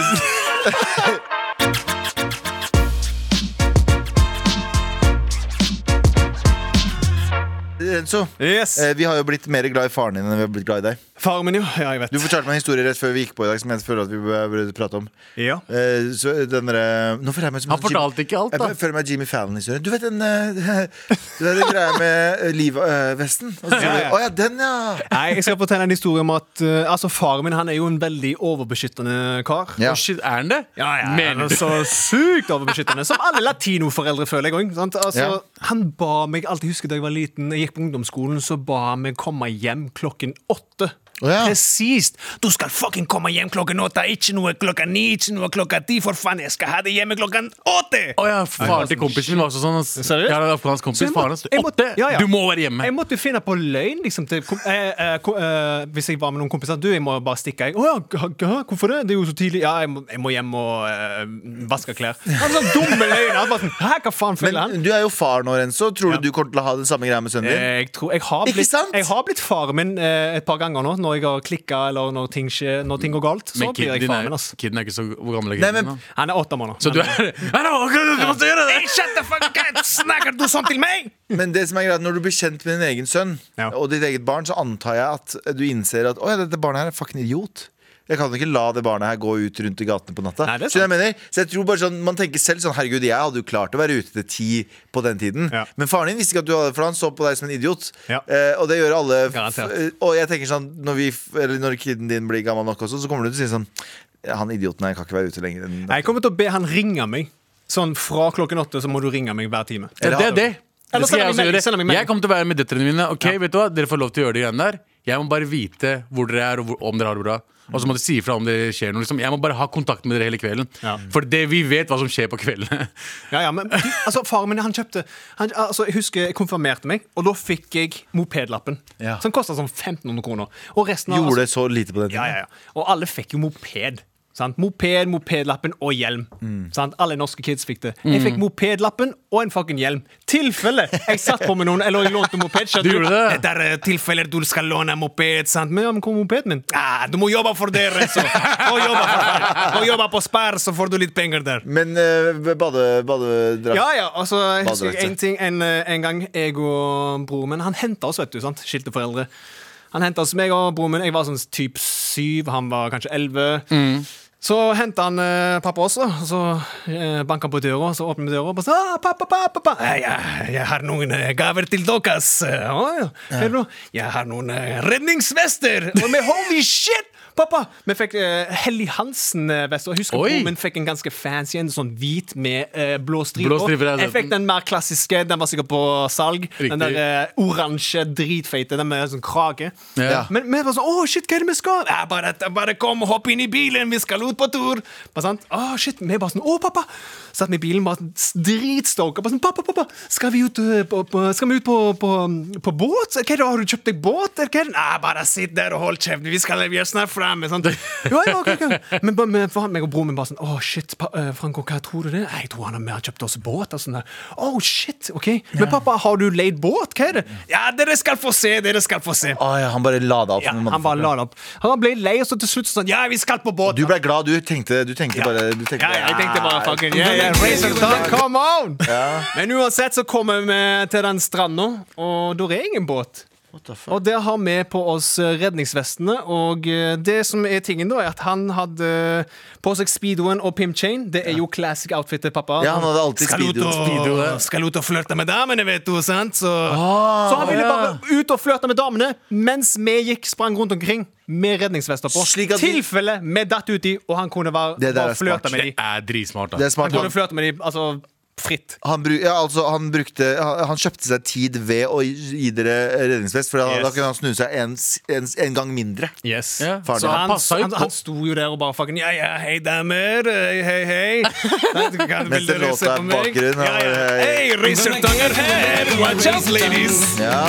S2: Renzo,
S4: Yes.
S2: eh, vi har jo blitt mer glad i faren din enn vi har blitt glad i deg.
S4: Faren min, jo. Ja, jeg vet.
S2: Du fortalte meg en historie rett før vi gikk på i dag som jeg føler at vi bør bør prate om.
S4: Ja.
S2: Eh, så den derre- Nå føler jeg meg som
S3: Han
S2: en sånn
S3: fortalte ikke alt,
S2: Jeg
S3: da.
S2: bare føler meg Jimmy Fallon-historien. Du vet den eh, Du vet den greia med eh, livvesten? Og så sier
S4: Ja,
S2: du
S4: ja.
S2: Å ja, den, ja!
S4: Nei, jeg skal fortelle en historie om at eh, Altså, Faren min han er jo en veldig overbeskyttende kar.
S2: Ja.
S3: Å, shit, er han det?
S4: Ja, ja, han
S3: Mener
S4: er
S3: du?
S4: så sykt overbeskyttende. Som alle latinoforeldre, føler jeg òg. Altså,
S2: Ja.
S4: Han ba meg alltid husker da jeg var liten, jeg gikk på ungdomsskolen, så ba han meg komme hjem klokken åtte.
S2: Å, ja.
S4: Presist! Du skal fucking komme hjem klokken åtte, ikke noe klokka ni, ikke noe klokka ti, for faen, jeg skal ha det hjemme klokken åtte!
S3: Å ja, faren til kompisen min var også sånn. ass. Jeg
S4: Seriøst?
S3: har en afghansk
S4: Så
S3: kompis.
S4: jeg må-
S3: Faren hans.
S4: jeg må-
S3: Åtte!
S4: ja, ja.
S3: Du må være hjemme.
S4: Jeg måtte jo finne på løgn liksom, til, kom- eh, eh, ko- eh, Hvis jeg var med noen kompiser Du, jeg må bare stikke jeg. Å, ja, g- g- Hvorfor det? Det er jo så tidlig Ja, jeg må, jeg må hjem og eh, vaske klær Han sånn dumme løgn Han bare sånn, hæ, hva faen føler han?
S2: Men du er jo far nå, Renzo. Tror
S4: Ja. Eh,
S2: du du kommer til å ha den samme greia med sønnen din?
S4: Jeg, tror, jeg, har
S2: Ikke
S4: blitt,
S2: sant?
S4: jeg har blitt faren min eh, et par ganger nå Når jeg har klikket eller når ting, skjer, når ting går galt Så
S3: Men
S4: blir
S3: kiden
S4: jeg
S3: din er,
S4: faren min ass.
S3: kiden er ikke så Hvor gammel
S2: Nei,
S3: er kiden
S2: men-
S3: din nå?
S4: Han er åtte måneder
S3: Så du er Nei, nei, du måtte gjøre det!
S4: Shut the fuck up, snakker du sånn til meg?
S2: Men det som er greit, når du blir kjent med din egen sønn
S4: Ja.
S2: og ditt eget barn, så antar jeg at du innser at Å, ja, dette barnet her er fucking idiot. Jeg kan jo ikke la det barnet her gå ut rundt i gatene på natta.
S4: Nei, det er
S2: så jeg
S4: sant.
S2: mener, så jeg tror bare sånn, Man tenker selv sånn Herregud, jeg hadde jo klart å være ute til ti på den tiden.
S4: Ja.
S2: Men faren din visste ikke at du hadde For han så på deg som en idiot.
S4: Ja.
S2: Eh, og det gjør alle. f-
S4: Garantert.
S2: eh, Og jeg tenker sånn Når, vi, f- eller når kiden din blir gammel nok også, så kommer du til å si sånn Han idioten her kan ikke være ute lenger. enn
S4: Nei, Jeg kommer til å be han ringe meg Sånn fra klokken åtte så må du ringe meg hver time
S3: Ja, det er det.
S4: Eller
S3: Det skal
S4: send
S3: jeg
S4: meg
S3: også
S4: melding, send meg
S3: gjøre.
S4: melding.
S3: Jeg kommer til å være med døtrene mine. Ok, vet du hva? Dere får lov til å gjøre de greiene der. Jeg må bare vite hvor dere er, og hvor, om dere har det bra. Og så må dere si ifra om det skjer noe. Liksom. Jeg må bare ha kontakt med dere hele kvelden.
S4: Ja.
S3: For det, vi vet hva som skjer på kveldene.
S4: Ja, ja, men de, altså, Faren min han kjøpte han, altså, Jeg husker jeg konfirmerte meg, og da fikk jeg mopedlappen.
S2: Ja.
S4: Som kosta sånn 1500 kroner. Og resten av altså,
S2: Gjorde det så lite på den tiden.
S4: Ja, ja, ja. Og alle fikk jo moped. Sant? Moped, mopedlappen og hjelm.
S2: Mm.
S4: Sant? Alle norske kids fikk det. Jeg
S3: Mm.
S4: fikk mopedlappen og en fucking hjelm. Tilfelle jeg satt på med noen eller jeg lånte moped. skjønner
S3: Du gjorde det?
S4: Det der er eh, tilfeller du skal låne moped. Sant? Men ja, men hvor er mopeden min? Ah, du må jobbe for dere, så. Og jobbe, for, og jobbe på Spar, så får du litt penger der.
S2: Men uh, badedrakt
S4: Ja, ja, altså, jeg husker
S2: Badedrakt, ja.
S4: en ting en, eh, en gang jeg og broren min Han henta oss, vet du, sant? skilte foreldre. Han henta oss, meg og broren min. Jeg var sånn typ syv, han var kanskje elleve. Så henta han eh, pappa også, og så eh, banka han på døra, og så åpner vi døra og bare sa, ah, pappa, pappa, pappa. «Ja, Ja, jeg har noen eh, gaver til dere. ass.» «Å, ja. «Hva er det nå?» Jeg har noen eh, redningsvester! Og med holy shit! Pappa! Vi fikk eh, Helly Hansen-vest. Og jeg husker
S3: Oi.
S4: broren min fikk en ganske fancy en, sånn hvit med eh, blå striper.
S3: Blå striper, ja,
S4: Jeg fikk den mer klassiske, den var sikkert på salg. Den
S3: Riktig.
S4: der eh, oransje, dritfeite, den med sånn krage.
S3: Ja.
S4: Men vi var sånn Å, shit, hva er det vi skal? Ja, bare, bare kom og hopp inn i bilen, vi skal ut på tur. Bare sant? Å, shit, Vi bare sånn Å, pappa! Satt vi i bilen, bare s- dritstoka. Bare sånn, pappa, pappa, skal vi ut, eh, på, på, skal vi ut på, på, på båt? Hva er det, har du kjøpt deg båt? Eller hva er det? Nei, bare sitt der og hold kjeft, vi skal vi er snart framme. Sant? Ja, ja, ok, ok. Men bare, men, faen, meg og broren min bare sånn Å, shit, pa, eh, Franco, hva tror du det? er? Jeg tror han har mer kjøpt oss båt. Og sånn der. Oh, shit, ok. Men pappa, har du leid båt? Hva er det? Ja, dere skal få se, dere skal få se.
S2: Å Ah, ja, han bare lada opp.
S4: Ja,
S2: som en
S4: han bare
S2: motherfucker.
S4: la det opp. Han ble lei, og så til slutt sånn Ja, vi skal på båt!
S2: Du ble glad, du tenkte, du tenkte bare du tenkte,
S4: ja, ja, jeg tenkte bare fucking yeah, yeah, Razor Dog, come on! Men uansett så kommer vi til den stranda, og der er ingen båt. Og der har vi på oss eh, redningsvestene, og eh, det som er tingen, da, er at han hadde på seg speedoen og pimp chain. Det er jo classic outfit til pappa.
S2: Ja, han hadde alltid
S4: skal ut,
S2: speedo-
S4: og,
S2: speedo, ja.
S4: skal ut og flørte med damene, vet du, sant? Så,
S2: Ah,
S4: så han ville bare ut og flørte med damene mens vi gikk sprang rundt omkring med redningsvester på.
S2: Slik at vi-
S4: Tilfelle vi datt uti, og han kunne være,
S2: Det der er
S4: bare flørte
S2: smart.
S4: med
S3: Det
S4: dem.
S3: er dritsmart.
S2: Det
S3: Da.
S2: er smart.
S4: Han kunne
S2: Han,
S4: flørte med dem altså, fritt.
S2: han, bru- ja, altså, han, brukte, han, han kjøpte seg tid ved å gi dere redningsvest, for da,
S4: Yes.
S2: da kunne han snu seg en, s- en, s- en gang mindre.
S4: Yes.
S3: Ja.
S2: Faren
S3: Så
S2: din.
S3: han
S4: Han,
S3: passa jo
S4: han, han
S3: på.
S4: sto jo der og bare fucking Ja, ja, hei, damer. Hei, hei, hei. Nei, du kan-
S2: Mens
S4: vil dere
S2: det
S4: se
S2: låta
S4: på meg?
S2: i bakgrunnen,
S4: Ja, ja.
S2: og, eh,
S4: Hei, racertanger her! Watch out, ladies!
S2: Ja.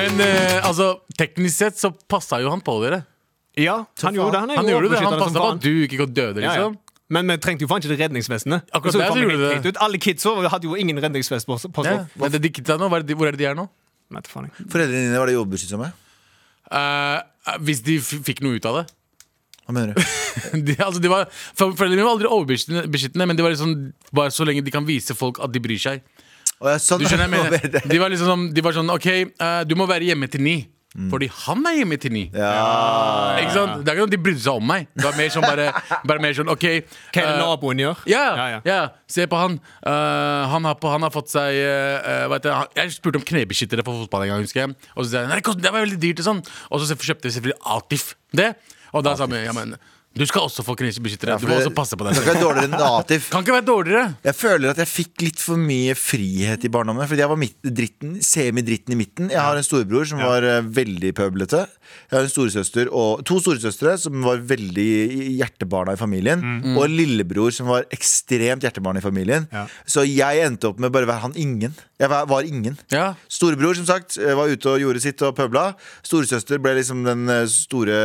S3: Men eh, altså, teknisk sett så passa jo han på dere.
S4: Ja, han gjorde det. Han, er
S3: Han
S4: jo
S3: gjorde det, han
S4: overbeskyttende som
S3: passa på
S4: faen.
S3: at du ikke døde,
S4: Ja, ja.
S3: liksom.
S4: Men vi trengte jo faen ikke det redningsvestene.
S3: Akkurat
S4: Så
S3: der så
S4: kom vi
S3: gjorde
S4: helt
S3: det.
S4: teit ut. Alle kidsa hadde jo ingen redningsvest på seg. på
S3: Ja.
S4: seg.
S3: Men det, de kidsa nå, hva er det de- hvor er det de er nå?
S4: Nei, til faen jeg.
S2: Foreldrene dine var det jordbeskyttsomme?
S3: Eh, hvis de f- fikk noe ut av det.
S2: Hva mener du?
S3: de, altså de var, for- Foreldrene mine var aldri overbeskyttende, beskyttende, men de var liksom, bare så lenge de kan vise folk at de bryr seg.
S2: Å, ja, sånn.
S3: Du skjønner hva jeg mener De var liksom sånn, de var sånn OK, eh, du må være hjemme til ni.
S4: Mm.
S3: Fordi han er hjemme til ni. Ikke sant? Det er ikke sånn at De brydde seg om meg. Det var mer sånn bare, bare mer sånn OK
S4: Hva er det
S3: eh,
S4: naboen gjør?
S3: ja,
S4: Ja,
S3: ja,
S4: ja.
S3: se på han. Eh, han, har på, han har fått seg eh, eh, vet du, han, Jeg spurte om knebeskyttere på fotball en gang, husker jeg. Og så sa jeg nei, det kost- det var veldig dyrt. Og sånn Og så kjøpte vi selvfølgelig Atif det. Og da sa vi ja, men du skal også få knebeskyttere. du må også passe på deg
S2: Det kan
S3: selv.
S2: være dårligere enn nativ.
S3: Kan ikke være dårligere.
S2: Jeg føler at jeg fikk litt for mye frihet i barndommen. Fordi jeg var midt, dritten, semidritten i midten. Jeg har en storebror som var eh, veldig pøblete. Jeg har en storesøster og to storesøstre som var veldig hjertebarna i familien. Og en lillebror som var ekstremt hjertebarn i familien.
S4: Ja.
S2: Så jeg endte opp med bare å være han ingen. Jeg var, var ingen.
S3: Ja.
S2: Storebror som sagt eh, var ute og gjorde sitt og pøbla. Storesøster ble liksom den store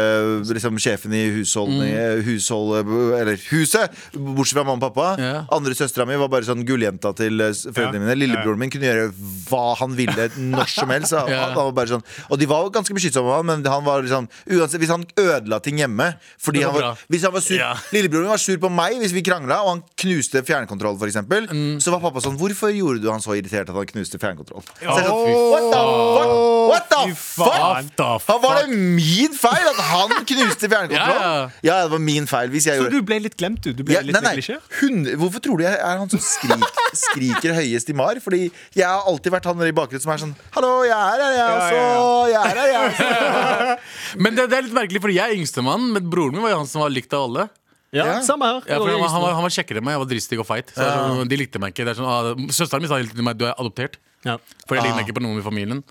S2: liksom, sjefen i
S3: Mm.
S2: husholdningen husholdet, Eller huset, bortsett fra mamma og pappa.
S3: Ja.
S2: Andre søstera mi var bare sånn gulljenta til eh, foreldrene mine. Lillebroren min kunne gjøre hva han ville når som helst. Han,
S3: Ja.
S2: han var bare sånn. Og de var jo ganske beskyttsomme, av han, men han var liksom, uansett, hvis han ødela ting hjemme fordi
S3: Det var
S2: han
S3: bra.
S2: var, Hvis han var sur
S3: Ja.
S2: Lillebroren min var sur på meg hvis vi krangla, og han knuste fjernkontroll, f.eks. eksempel
S3: Mm.
S2: Så var pappa sånn Hvorfor gjorde du han så irritert at han knuste fjernkontroll? Så jeg sånn, What the fuck? What the
S3: faen.
S2: fuck? Han var det min feil at han knuste fjernkontroll?
S3: Ja, ja.
S2: ja, det var min feil. Hvis jeg
S4: Så
S2: gjorde
S4: du ble litt glemt, du? Du ble
S2: ja,
S4: litt
S2: nei, nei.
S4: neglisjert?
S2: Hun, hvorfor tror du jeg er han som skrik, skriker høyest i mar? Fordi jeg har alltid vært han i bakgrunnen som er sånn Hallo, jeg er her, jeg også. Jeg er her, jeg også.
S3: Men det, det er litt merkelig, fordi jeg er yngstemann, men broren min var jo han som var likt av alle.
S4: Ja,
S2: Ja.
S4: Samme her.
S3: Ja, for
S4: Roy
S3: han, var- han,
S4: Eggestad.
S3: var, han var kjekkere enn meg. Jeg var dristig og feit. Så det er sånn, de likte meg ikke. Det er sånn, ah, søsteren min sa hele tiden til meg du er adoptert.
S4: ja.
S2: Ah.
S3: For jeg ligner ikke på noen i familien.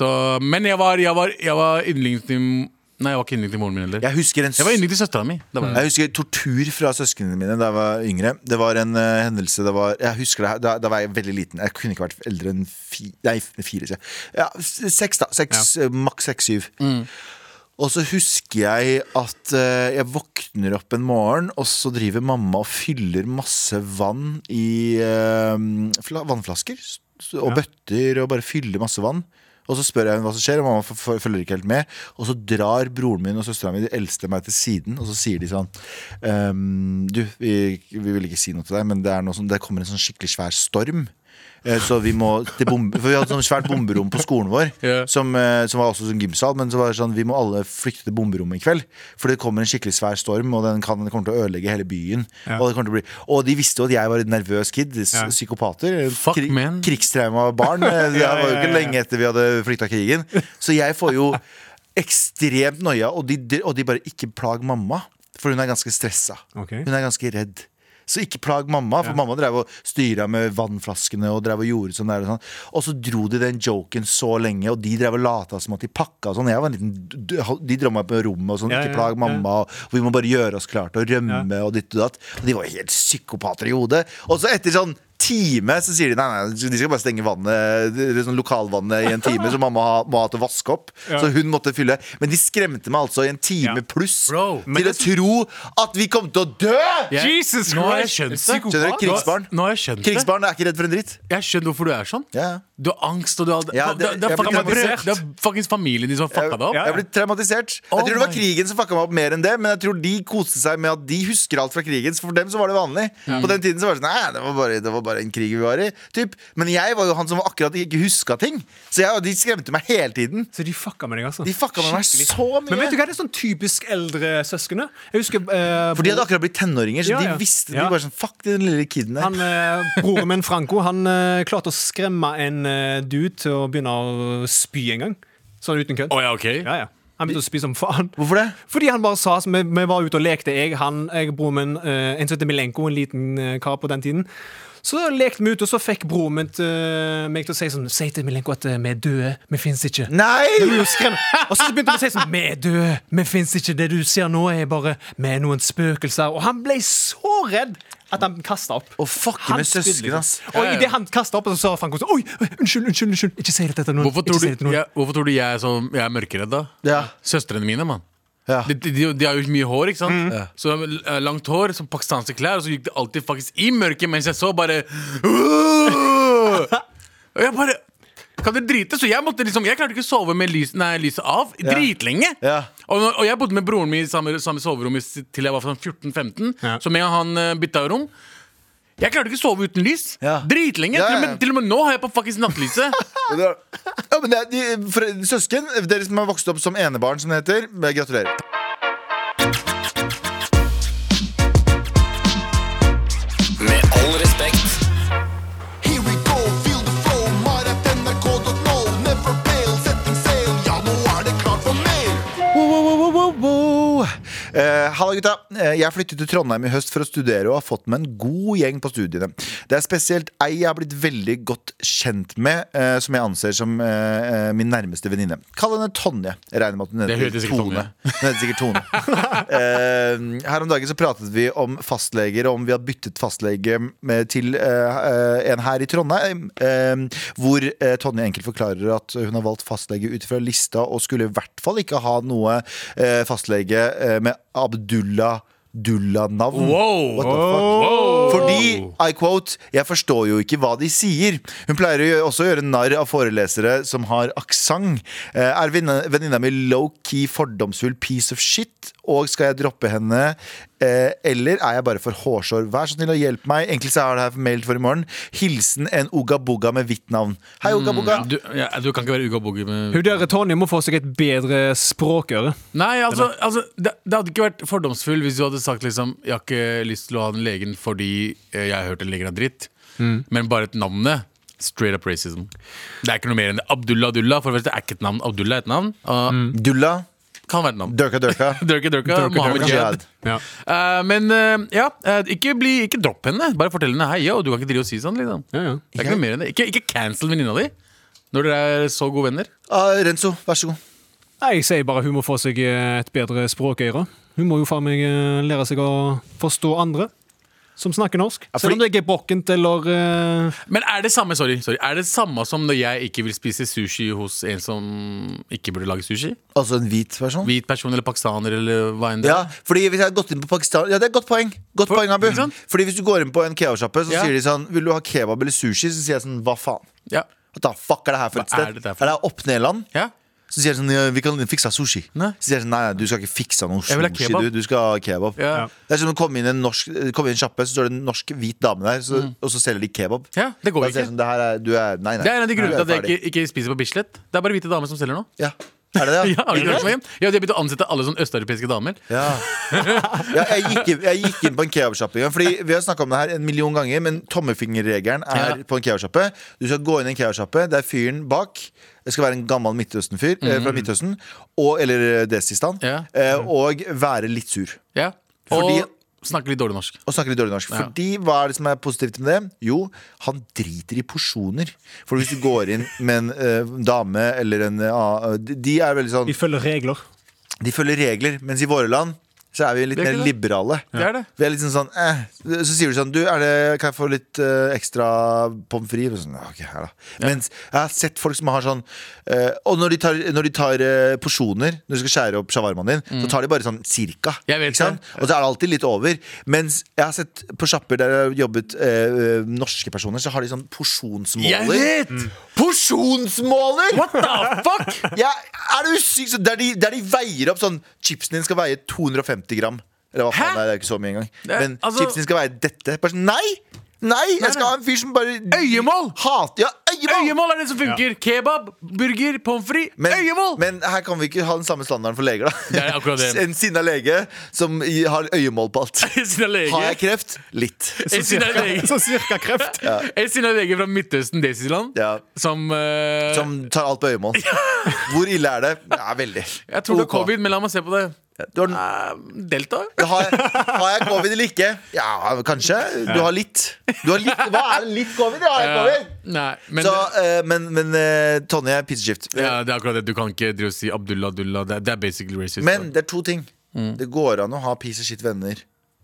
S3: Så, men jeg var, jeg var, jeg var yndlingen til Nei, jeg var ikke yndling til moren min heller.
S2: Jeg Mm. husker en
S3: Jeg var yndling til søstera mi. Det var jeg.
S2: Jeg husker tortur fra søsknene mine da jeg var yngre. Det var en eh, hendelse det var, Jeg husker det her, da, da var jeg veldig liten. Jeg kunne ikke vært eldre enn fi, nei, f- fire. sier jeg. Ja, s- seks, da. Seks, eh, Maks seks-syv. Og så husker jeg at eh, jeg våkner opp en morgen, og så driver mamma og fyller masse vann i eh, fla, vannflasker s- og bøtter og bare fyller masse vann. Og så spør jeg henne hva som skjer, og mamma f- f- følger ikke helt med. Og så drar broren min og søstera mi, de eldste, meg til siden, og så sier de sånn ehm, Du, vi, vi vil ikke si noe til deg, men det, er noe sånn, det kommer en sånn skikkelig svær storm. Eh, Så vi må til bombe, For vi hadde sånn svært bomberom på skolen vår,
S3: Ja.
S2: som, eh, som var også sånn gymsal. Men så var det sånn, vi må alle flykte til bomberommet i kveld. For det kommer en skikkelig svær storm, og den, kan, den kommer til å ødelegge hele byen. Og, det kommer til å bli, og de visste jo at jeg var en nervøs kid. s- Psykopater.
S3: Fuck, man.
S2: Krigstraumabarn. Det var jo
S4: ja,
S2: ikke
S4: ja, ja.
S2: lenge etter vi hadde flykta krigen. Så jeg får jo ekstremt noia, og de, og de bare ikke plag mamma. For hun er ganske stressa.
S4: Ok.
S2: Hun er ganske redd. Så ikke plag mamma, for mamma drev og styra med vannflaskene. Og drev og gjorde sånn der og sånn Og så dro de den joken så lenge, og de drev og lata som at de pakka og sånn. Jeg var en liten, de dro meg på rommet og sånn.
S4: Ja,
S2: ikke
S4: ja,
S2: plag
S4: ja.
S2: mamma, og vi må bare gjøre oss klare til å rømme og ditt og datt. Og de var helt psykopater i hodet. Og så etter sånn time så sier de nei, nei, de skal bare stenge vannet eller sånn lokalvannet i en time, så mamma ha- må ha til å vaske opp. Så hun måtte fylle. Men de skremte meg altså i en time
S4: Ja.
S2: pluss
S3: Bro,
S2: til å tro at vi kom til å dø!
S3: Jeg-
S4: Jesus
S3: Nå har jeg
S4: Christ!
S3: skjønt det.
S4: Psykopat.
S2: Skjønner du? Krigsbarn.
S3: Nå har jeg skjønt det.
S2: Krigsbarn er ikke redd for en dritt.
S3: Jeg skjønner hvorfor du er sånn.
S2: Ja, ja.
S3: Du har angst, og du har Det,
S2: Ja,
S3: det,
S2: det-
S3: det, er
S2: jeg blir
S3: fucking-
S2: traumatisert.
S3: det er fuckings familien din som har fucka deg opp.
S4: Ja,
S2: Jeg ble traumatisert.
S3: Oh
S2: jeg tror det var
S3: my-
S2: krigen som fucka meg opp mer enn det, men jeg tror de koste seg med at de husker alt fra krigen. Så for dem så var det vanlig. På den tiden så var det sånn Nei, det var bare, det var bare en krig vi var i. Typ. Men jeg var jo han som akkurat ikke huska ting. Så jeg, de skremte meg hele tiden.
S4: Så de fucka med deg, altså.
S2: De fucka med meg så mye.
S4: Men vet du hva, det er sånn typisk eldre søskene. Jeg husker eh,
S2: For de hadde akkurat blitt tenåringer, så
S4: Ja, ja.
S2: de visste
S4: Ja.
S2: de bare sånn Fuck den lille kiden der.
S4: han, eh, Broren min Franco han eh, klarte å skremme en eh, dude til å begynne å spy en gang. Sånn uten kødd.
S3: Å ja, ok
S4: Ja, ja. Han begynte å spy som faen.
S2: Hvorfor det?
S4: Fordi han bare sa altså, Vi, vi var ute og lekte, jeg, han, jeg broren min, eh, en som heter Milenko, en liten eh, kar på den tiden. Så lekte vi ute, og så fikk broren min til- meg til å si sånn Si til Milenko at eh, vi er døde, vi fins ikke.
S2: Nei!
S4: Og skremme. Og så begynte han å si sånn Vi er døde, vi fins ikke. Det du ser nå, er bare Vi er noen spøkelser. Og han ble så redd at han kasta opp.
S2: Å fucke
S4: Han
S2: med
S4: spydde
S2: søsken,
S4: liksom.
S2: ass.
S3: Ja,
S4: Og
S3: ja.
S4: idet han kasta opp, så sa Franco sånn Oi, oi, unnskyld, unnskyld, unnskyld. Ikke si det til noen.
S3: Hvorfor
S4: Ikke
S3: tror,
S4: si det
S3: du,
S4: til noen.
S3: jeg, hvorfor tror du jeg er, så, jeg er mørkeredd, da?
S2: Ja.
S3: Søstrene mine, mann.
S2: Ja. Mm.
S3: De, de, de har jo mye hår, ikke sant? Så eh, Langt hår, som pakistanske klær, og så gikk det alltid faktisk i mørket mens jeg så bare Og jeg bare Kan dere drite? Så jeg måtte liksom Jeg klarte ikke å sove med lys, nei, lyset av dritlenge.
S2: Ja.
S3: Og, og jeg bodde med broren min i samme, samme soverom i s- til jeg var sånn 14-15,
S4: Ja.
S3: så med en gang han eh, bytta rom jeg klarte ikke å sove uten lys.
S2: Ja.
S3: Dritlenge.
S2: Ja, ja,
S3: Til, og
S2: ja.
S3: med, til og med nå har jeg på fuckings nattlyset.
S2: Ja, det er- Ja, men det er, de, for, søsken, dere som har vokst opp som enebarn, som det heter, gratulerer.
S7: Med all respekt.
S8: Here we go, feel the flow, mar at nrk.no. Never fail, setting sail, ja nå er det klart for mer.
S2: Wow, wow, wow, wow, wow, wow. Eh, Halla gutta, Eh, jeg flyttet til Trondheim i høst for å studere og har fått med en god gjeng på studiene. Det er spesielt ei jeg har blitt veldig godt kjent med, eh, som jeg anser som eh, eh, min nærmeste venninne. Kall henne Tonje. Jeg regner med at hun
S3: Det
S2: heter
S3: heter sikkert
S2: Tone.
S3: Tonje.
S2: Hun heter sikkert Tone. Eh, her om dagen så pratet vi om fastleger, og om vi har byttet fastlege med, til eh, eh, en her i Trondheim. eh, hvor eh, Tonje enkelt forklarer at hun har valgt fastlege ut fra lista, og skulle i hvert fall ikke ha noe eh, fastlege eh, med Abdullah Dullah-navn.
S3: Wow.
S2: What the fuck? Fordi, I quote, jeg forstår jo ikke hva de sier. Hun pleier å gjø- også å gjøre narr av forelesere som har aksent. Eh, Er venninna venninna mi low-key fordomsfull piece of shit, og skal jeg droppe henne? Eh, Eller er jeg bare for hårsår? Vær så snill og hjelp meg. Egentlig så er det her meldt for i morgen. Hilsen en ogaboga med hvitt navn. Hei, ogaboga.
S3: Mm. Du, ja, du kan ikke være Uga Boogie med
S4: Hun der Tonje må få seg et bedre språkøre.
S3: Nei, altså, altså det, det hadde ikke vært fordomsfull hvis du hadde sagt liksom Jeg har ikke lyst til å ha den legen fordi eh, jeg har hørt den legen er dritt. Men bare et navnet. Straight up Mm. racism. Det er ikke noe mer enn det. Abdullah Abdullah for det første er ikke et navn. Abdullah er et navn. Og
S2: Dulla.
S3: kan være et navn.
S2: Døka, døka.
S3: Durka Durka, Mohammed Jihad.
S4: Ja.
S3: Eh, men eh, ja, eh, ikke, bli, ikke dropp henne. Bare fortell henne hei, yo, du kan ikke drive og si sånn. Liksom.
S4: Ja, ja.
S3: Det er ikke noe mer enn det. Ikke, ikke cancel venninna di når dere er så gode venner.
S2: Ah, Renzo, vær så god.
S4: Nei, Jeg sier bare hun må få seg eh, et bedre språkøre. Hun må jo faen meg eh, lære seg å forstå andre som snakker norsk. Selv om det ikke er brokkent eller eh,
S3: Men er det samme sorry, sorry, er det samme som når jeg ikke vil spise sushi hos en som ikke burde lage sushi?
S2: Altså en hvit person?
S3: Hvit person eller pakistaner eller hva enn det
S2: Ja,
S3: er.
S2: fordi hvis jeg hadde gått inn på Pakistan Ja, det er et godt poeng. Godt
S3: For-
S2: poeng, Abu.
S3: ikke sant?
S2: Fordi hvis du går inn på en kebabsjappe, så
S3: Ja.
S2: sier de sånn Vil du ha kebab eller sushi? Så sier jeg sånn Hva faen?
S3: Ja.
S2: What the fuck er det her for et
S3: Hva er
S2: sted?
S3: det der
S2: Er
S3: for-
S2: det opp-ned-land?
S3: ja.
S2: Så sier jeg sånn ja, Vi kan fikse sushi.
S3: Nei.
S2: Så sier jeg sånn Nei, nei, du skal ikke fikse noe
S3: Jeg vil ha
S2: sushi,
S3: kebab.
S2: du. Du skal ha kebab.
S3: Ja. Ja.
S2: Det er som å komme inn i en norsk Komme inn i en sjappe, så står det en norsk hvit dame der, så, og så selger de kebab.
S3: Mm. det går
S2: Da sier
S3: ikke.
S2: jeg sånn Det her er Du er Nei, nei.
S3: Det er en av de
S2: Du
S3: grunnene til at
S2: er
S3: jeg ikke, ikke spiser på Bislett. Det er bare hvite damer som selger nå.
S2: ferdig. Ja. Er det det?
S3: Ja, har du ikke hørt meg igjen? ja, De har begynt å ansette alle sånne østeuropeiske damer.
S2: Ja. ja jeg, gikk inn, jeg gikk inn på en kebabsjappe en gang. Fordi Vi har snakka om det her en million ganger, men tommefingerregelen er
S3: Ja.
S2: på en kebabsjappe. Du skal gå inn i en kebabsjappe der fyren bak det skal være en gammel Midtøsten-fyr eh, fra Midtøsten, og, eller eh, Desistan,
S3: Mhm. Ja.
S2: eh, og være litt sur.
S3: Ja. Og
S2: Fordi-
S3: snakker litt dårlig norsk.
S2: Og snakke litt dårlig norsk.
S3: Ja.
S2: Fordi hva er det som er positivt med det? Jo, han driter i porsjoner. For hvis du går inn med en eh, dame eller en eh, de- De er veldig sånn
S4: de følger regler.
S2: de følger regler, mens i våre land så er vi litt
S3: Det er
S2: mer
S3: ikke det.
S2: liberale.
S3: Det er det.
S2: Vi er litt sånn sånn eh. Så sier du sånn du, er det, Kan jeg få litt eh, ekstra pommes frites? Og Sånn, ja, ok, her da. Mens jeg har sett folk som har sånn eh, Og når de tar, når de tar eh, porsjoner, når du skal skjære opp shawarmaen din, så tar de bare sånn cirka.
S3: Mm. Jeg vet
S2: ikke sant? Og så er det alltid litt over. Mens jeg har sett på sjapper der jeg har jobbet eh, norske personer, så har de sånn
S3: Jeg
S2: porsjonsmåler.
S3: vet!
S2: Porsjonsmåler!
S3: Mm. What the fuck?
S2: Ja, er det usykt? Så Der, de, der de veier opp sånn Chipsen din skal veie 250 gram. Eller hva faen,
S3: Hæ?
S2: nei, det er ikke så mye engang.
S3: er-
S2: Men
S3: altså-
S2: chipsen din skal veie dette. Bare sånn, nei! Nei, jeg skal ha en fyr som bare
S3: Øyemål!
S2: hater Ja, øyemål!
S3: Øyemål er det som funker. Kebab, burger, pommes frites.
S2: Men,
S3: Øyemål!
S2: men her kan vi ikke ha den samme standarden for leger, da.
S3: Det er akkurat det.
S2: En sinna lege som i- har øyemål på alt.
S3: Sin er lege.
S2: Har jeg kreft? Litt.
S3: En sin er lege.
S4: Sånn cirka kreft.
S3: En sin er lege fra Midtøsten, Desiland,
S2: Ja.
S3: som, eh,
S2: Som tar alt på øyemål. Hvor ille er det? Ja, veldig.
S3: Jeg tror det
S2: Ok.
S3: er covid, men la meg se på det.
S2: Du har,
S3: Eh, Delta?
S2: har, jeg, har jeg covid eller ikke? Ja, kanskje. Du har litt. Du har litt hva er det? litt covid? Ja, jeg har
S3: Eh,
S2: covid.
S3: Nei, men
S2: så, eh, men men eh, Tonje er pizzaskift.
S3: ja, Det er akkurat det. Du kan ikke drive og si Abdullah Abdullah. Det, er- det er basically racist.
S2: men det er to ting.
S3: Mm.
S2: Det går an å ha pizzaskift-venner.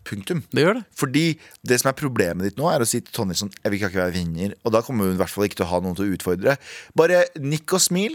S2: Punktum.
S3: det gjør det.
S2: Fordi det som er problemet ditt nå, er å si til Tonje sånn Jeg vil ikke være vinner. Og da kommer hun i hvert fall ikke til å ha noen til å utfordre. Bare nikk og smil.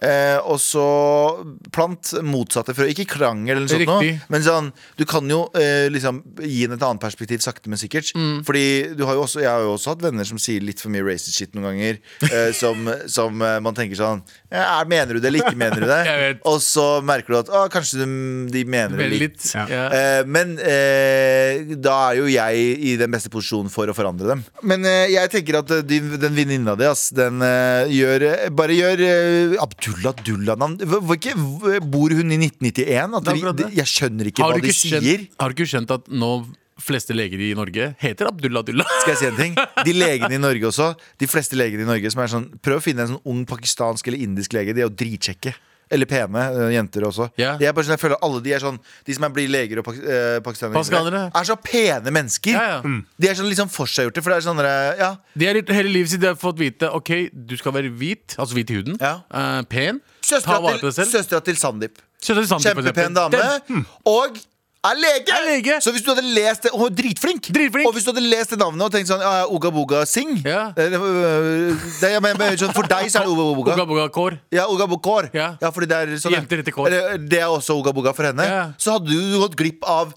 S2: Eh, og så plant motsatte frø. Ikke krangel, eller sånt noe,
S3: Riktig.
S2: men sånn, du kan jo eh, liksom gi henne et annet perspektiv sakte, men sikkert.
S3: Mm.
S2: Fordi du har jo også, jeg har jo også hatt venner som sier litt for mye racist shit noen ganger. Eh, som som eh, man tenker sånn ja, Mener du det, eller ikke mener du det?
S3: Jeg vet.
S2: og så merker du at å, kanskje de, de mener det
S3: Veldig
S2: litt.
S3: litt.
S4: Ja.
S3: Ja.
S2: Eh, men eh, da er jo jeg i den beste posisjonen for å forandre dem. Men eh, jeg tenker at eh, din, den venninna di, ass, den eh, gjør eh, Bare gjør eh, Abdullah Dullah-navn. Hva- hva- ikke- hva- Bor hun i 1991? At
S3: Det er
S2: de,
S3: akkurat
S2: de,
S3: det.
S2: jeg skjønner ikke
S3: Har,
S2: hva
S3: du
S2: de
S3: ikke
S2: sier.
S3: skjønt, har du ikke skjønt at nå fleste leger i Norge heter Abdullah Abdullah?
S2: Skal jeg si en ting? De legene i Norge også, de fleste legene i Norge som er sånn Prøv å finne en sånn ung pakistansk eller indisk lege. De er jo dritkjekke. Eller pene eh, jenter også.
S3: Ja.
S2: De, er bare sånn, jeg føler alle de, er sånn, de som er blir leger og pak eh, pakistanere,
S3: Pakistanere.
S2: er så pene mennesker.
S3: Ja, ja. Mm.
S2: De er sånn liksom forseggjorte. For det er sånn der, ja,
S3: De har gjort- hele livet sitt de har fått vite Ok, du skal være hvit, altså hvit i huden.
S2: Ja.
S3: eh, pen. Ta
S2: Søstera
S3: vare på
S2: til,
S3: deg selv.
S2: søstera til Sandeep.
S3: Søstera til Sandeep, for
S2: Kjempepen
S3: eksempel.
S2: dame.
S3: Den-
S2: Og er lege.
S3: Mm. Er lege.
S2: Så hvis du hadde lest det Hun er dritflink.
S3: Dritflink.
S2: Og hvis du hadde lest det navnet og tenkt sånn ja, ja, Oga Boga Singh
S3: Ja.
S2: Eh, øh, det, jeg mener, sånn, For deg så er det Oga Boga.
S3: Boga Boga Kår.
S2: Ja, Oga Boga Kår.
S3: Ja.
S2: fordi det er sånn
S3: Jenter heter Kår.
S2: Eller, Det er også Oga Boga for henne.
S3: Ja.
S2: Så hadde du gått glipp av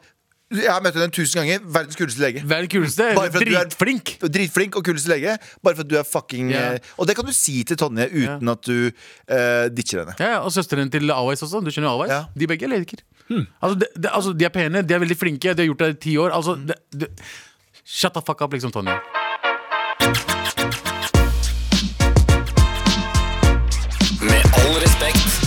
S2: Jeg har møtt henne tusen ganger. Verdens kuleste lege.
S3: Vær den kuleste.
S2: Bare for at du er-
S3: Dritflink.
S2: Dritflink og kuleste lege. Bare for at du er fucking
S3: Ja.
S2: eh, Og det kan du si til Tonje uten at du eh, ditcher henne.
S3: Ja, ja, Og søsteren til Awais også. Du skjønner jo Awais.
S2: Ja.
S3: De begge er leker. Altså, de, de, altså, de er pene, de er veldig flinke, de har gjort det i ti år. Altså, de, de, shut the fuck up, liksom, Tonje.
S7: Med all respekt.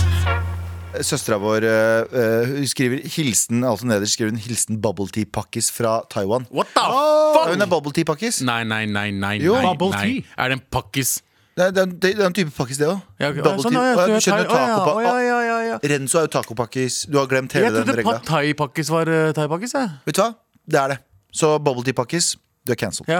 S2: Søstera vår eh, eh, hun skriver hilsen altså nederst skriver hun hilsen bubble tea pakkis fra Taiwan.
S3: What the
S2: Ja,
S3: fuck?
S2: Hun er bubble tea pakkis.
S3: Nei, nei, nei, nei.
S2: Jo,
S3: nei,
S4: bubble
S3: nei.
S4: tea.
S3: Er det en pakkis?
S2: Det er, det, er, det er en type pakkis, det òg.
S3: Ja, ok. Å,
S2: Double
S3: sånn,
S2: team.
S3: ja, jeg
S2: Å, ja,
S3: tror
S2: Du skjønner
S3: jeg- å, ja,
S2: taco
S3: å, ja, ja, ja, ja.
S2: Renzo er jo tacopakkis. Du har glemt hele
S3: Jeg
S2: den
S3: trodde
S2: regla.
S3: pad thai-pakkis var uh, thai-pakkis, jeg.
S2: Vet du hva? Det er det. Så bubble tea-pakkis, du er cancelled.
S3: Ja.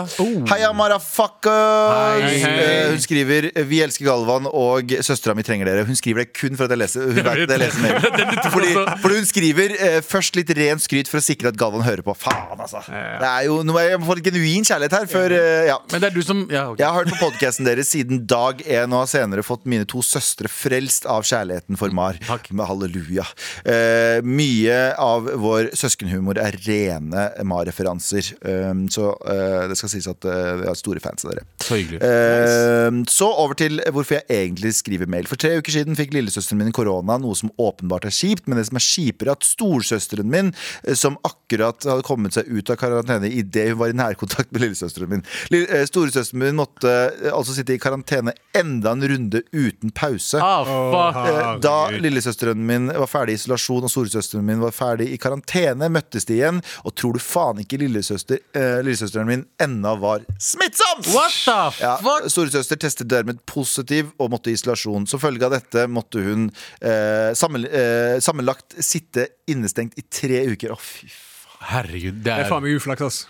S2: Heia marafuckers!
S3: Hei, hei.
S2: Eh, Hun skriver 'Vi elsker Galvan og søstera mi trenger dere'. Hun skriver det kun for at jeg leser Hun vet at jeg leser mer. Fordi, fordi hun skriver eh, først litt rent skryt for å sikre at Galvan hører på. Faen, altså. Det er jo, nå må jeg få litt genuin kjærlighet her. For, eh, ja.
S3: Men det er du som Ja, ok.
S2: Jeg har hørt på podkasten deres siden dag én og har senere fått mine to søstre frelst av kjærligheten for Mar.
S3: Takk.
S2: Med halleluja. Eh, mye av vår søskenhumor er rene Mar-referanser. Eh, så eh, det skal sies at eh, jeg er store fans av dere.
S3: Så hyggelig.
S2: Eh, Så over til hvorfor jeg egentlig skriver mail. For tre uker siden fikk lillesøsteren min korona, noe som åpenbart er kjipt. Men det som er kjipere, er at storsøsteren min, eh, som akkurat hadde kommet seg ut av karantene idet hun var i nærkontakt med lillesøsteren min Lille- eh, Storesøsteren min måtte eh, altså sitte i karantene enda en runde uten pause.
S3: Ah, fuck.
S2: Eh, Da lillesøsteren min var ferdig i isolasjon og storesøsteren min var ferdig i karantene, møttes de igjen. Og tror du faen ikke lillesøster, eh, lillesøsteren min ennå var smittsom!
S3: What the f...
S2: Ja, Storesøster testet dermed positiv og måtte i isolasjon. Som følge av dette måtte hun eh, sammen, eh, sammenlagt sitte innestengt i tre uker. Å, fy faen.
S3: Herregud, det
S4: Det er
S3: er
S4: faen meg uflaks, ass.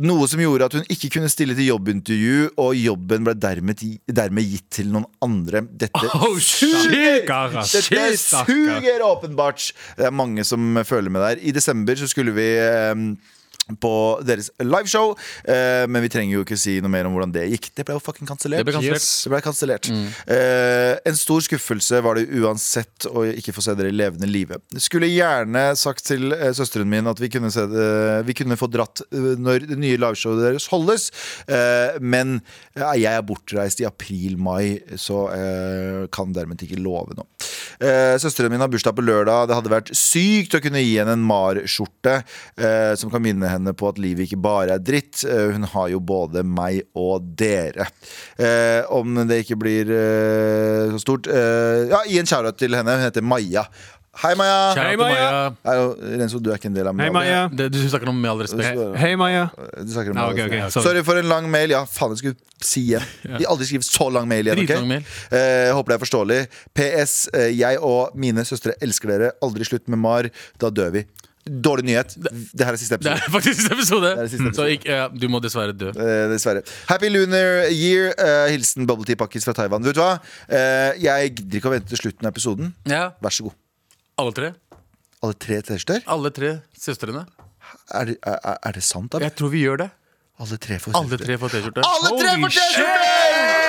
S2: Noe som gjorde at hun ikke kunne stille til jobbintervju, og jobben ble dermed, dermed gitt til noen andre. Dette
S3: Oh, shit!
S4: Garas.
S2: Dette
S4: Stakkar.
S2: suger åpenbart. Det er mange som føler med der. I desember så skulle vi ehm, på deres liveshow, eh, men vi trenger jo ikke si noe mer om hvordan det gikk. Det ble jo fucking kansellert.
S3: Det ble kansellert. Mm.
S2: Yes. Det ble kansellert. Eh, en stor skuffelse var det uansett å ikke få se dere i levende live. Skulle gjerne sagt til eh, søsteren min at vi kunne, se det, vi kunne få dratt eh, når det nye liveshowet deres holdes, eh, men eh, jeg er bortreist i april-mai, så eh, kan dermed ikke love noe. Eh, søsteren min har bursdag på lørdag. Det hadde vært sykt å kunne gi henne en Mar-skjorte eh, som kan minne henne på at livet ikke bare er dritt. Eh, hun har jo både meg og dere. Eh, om det ikke blir eh, så stort eh, Ja, gi en shout-out til henne. Hun heter Maja. Hei, Maja!
S3: Shout out
S4: Hei,
S3: til
S4: Maja.
S3: Maja.
S2: Er jo- Renzo, du er ikke en del av
S4: Hei, Maja.
S3: Det, du snakker om med all respekt.
S2: Så-
S4: Hei, Maja.
S2: Du snakker om
S4: Ja,
S2: Maja.
S4: ok, ok,
S2: sorry.
S4: sorry.
S2: for en lang mail. Ja, faen, jeg skulle si igjen. De aldri skriver så lang mail igjen. ok?
S3: Dritlang mail.
S2: Eh, jeg håper det er forståelig. PS. eh, Jeg og mine søstre elsker dere. Aldri slutt med Mar. Da dør vi. Dårlig nyhet. Det her er siste
S3: Det
S2: episode.
S3: er faktisk siste episode.
S2: er siste
S3: Så ikke, ja, du må dessverre dø.
S2: Eh, dessverre. Happy lunar year. Eh, hilsen bubble tea-pakkis fra Taiwan. Vet du hva? Eh, jeg gidder ikke å vente til slutten av episoden.
S3: Ja,
S2: Vær så god.
S3: Alle tre.
S2: Alle tre T-skjorter?
S3: Alle tre søstrene.
S2: Er, det- er, er- er det sant? Da?
S3: Jeg tror vi gjør det.
S2: Alle tre får
S3: Alle tre får T-skjorte.
S2: Alle tre får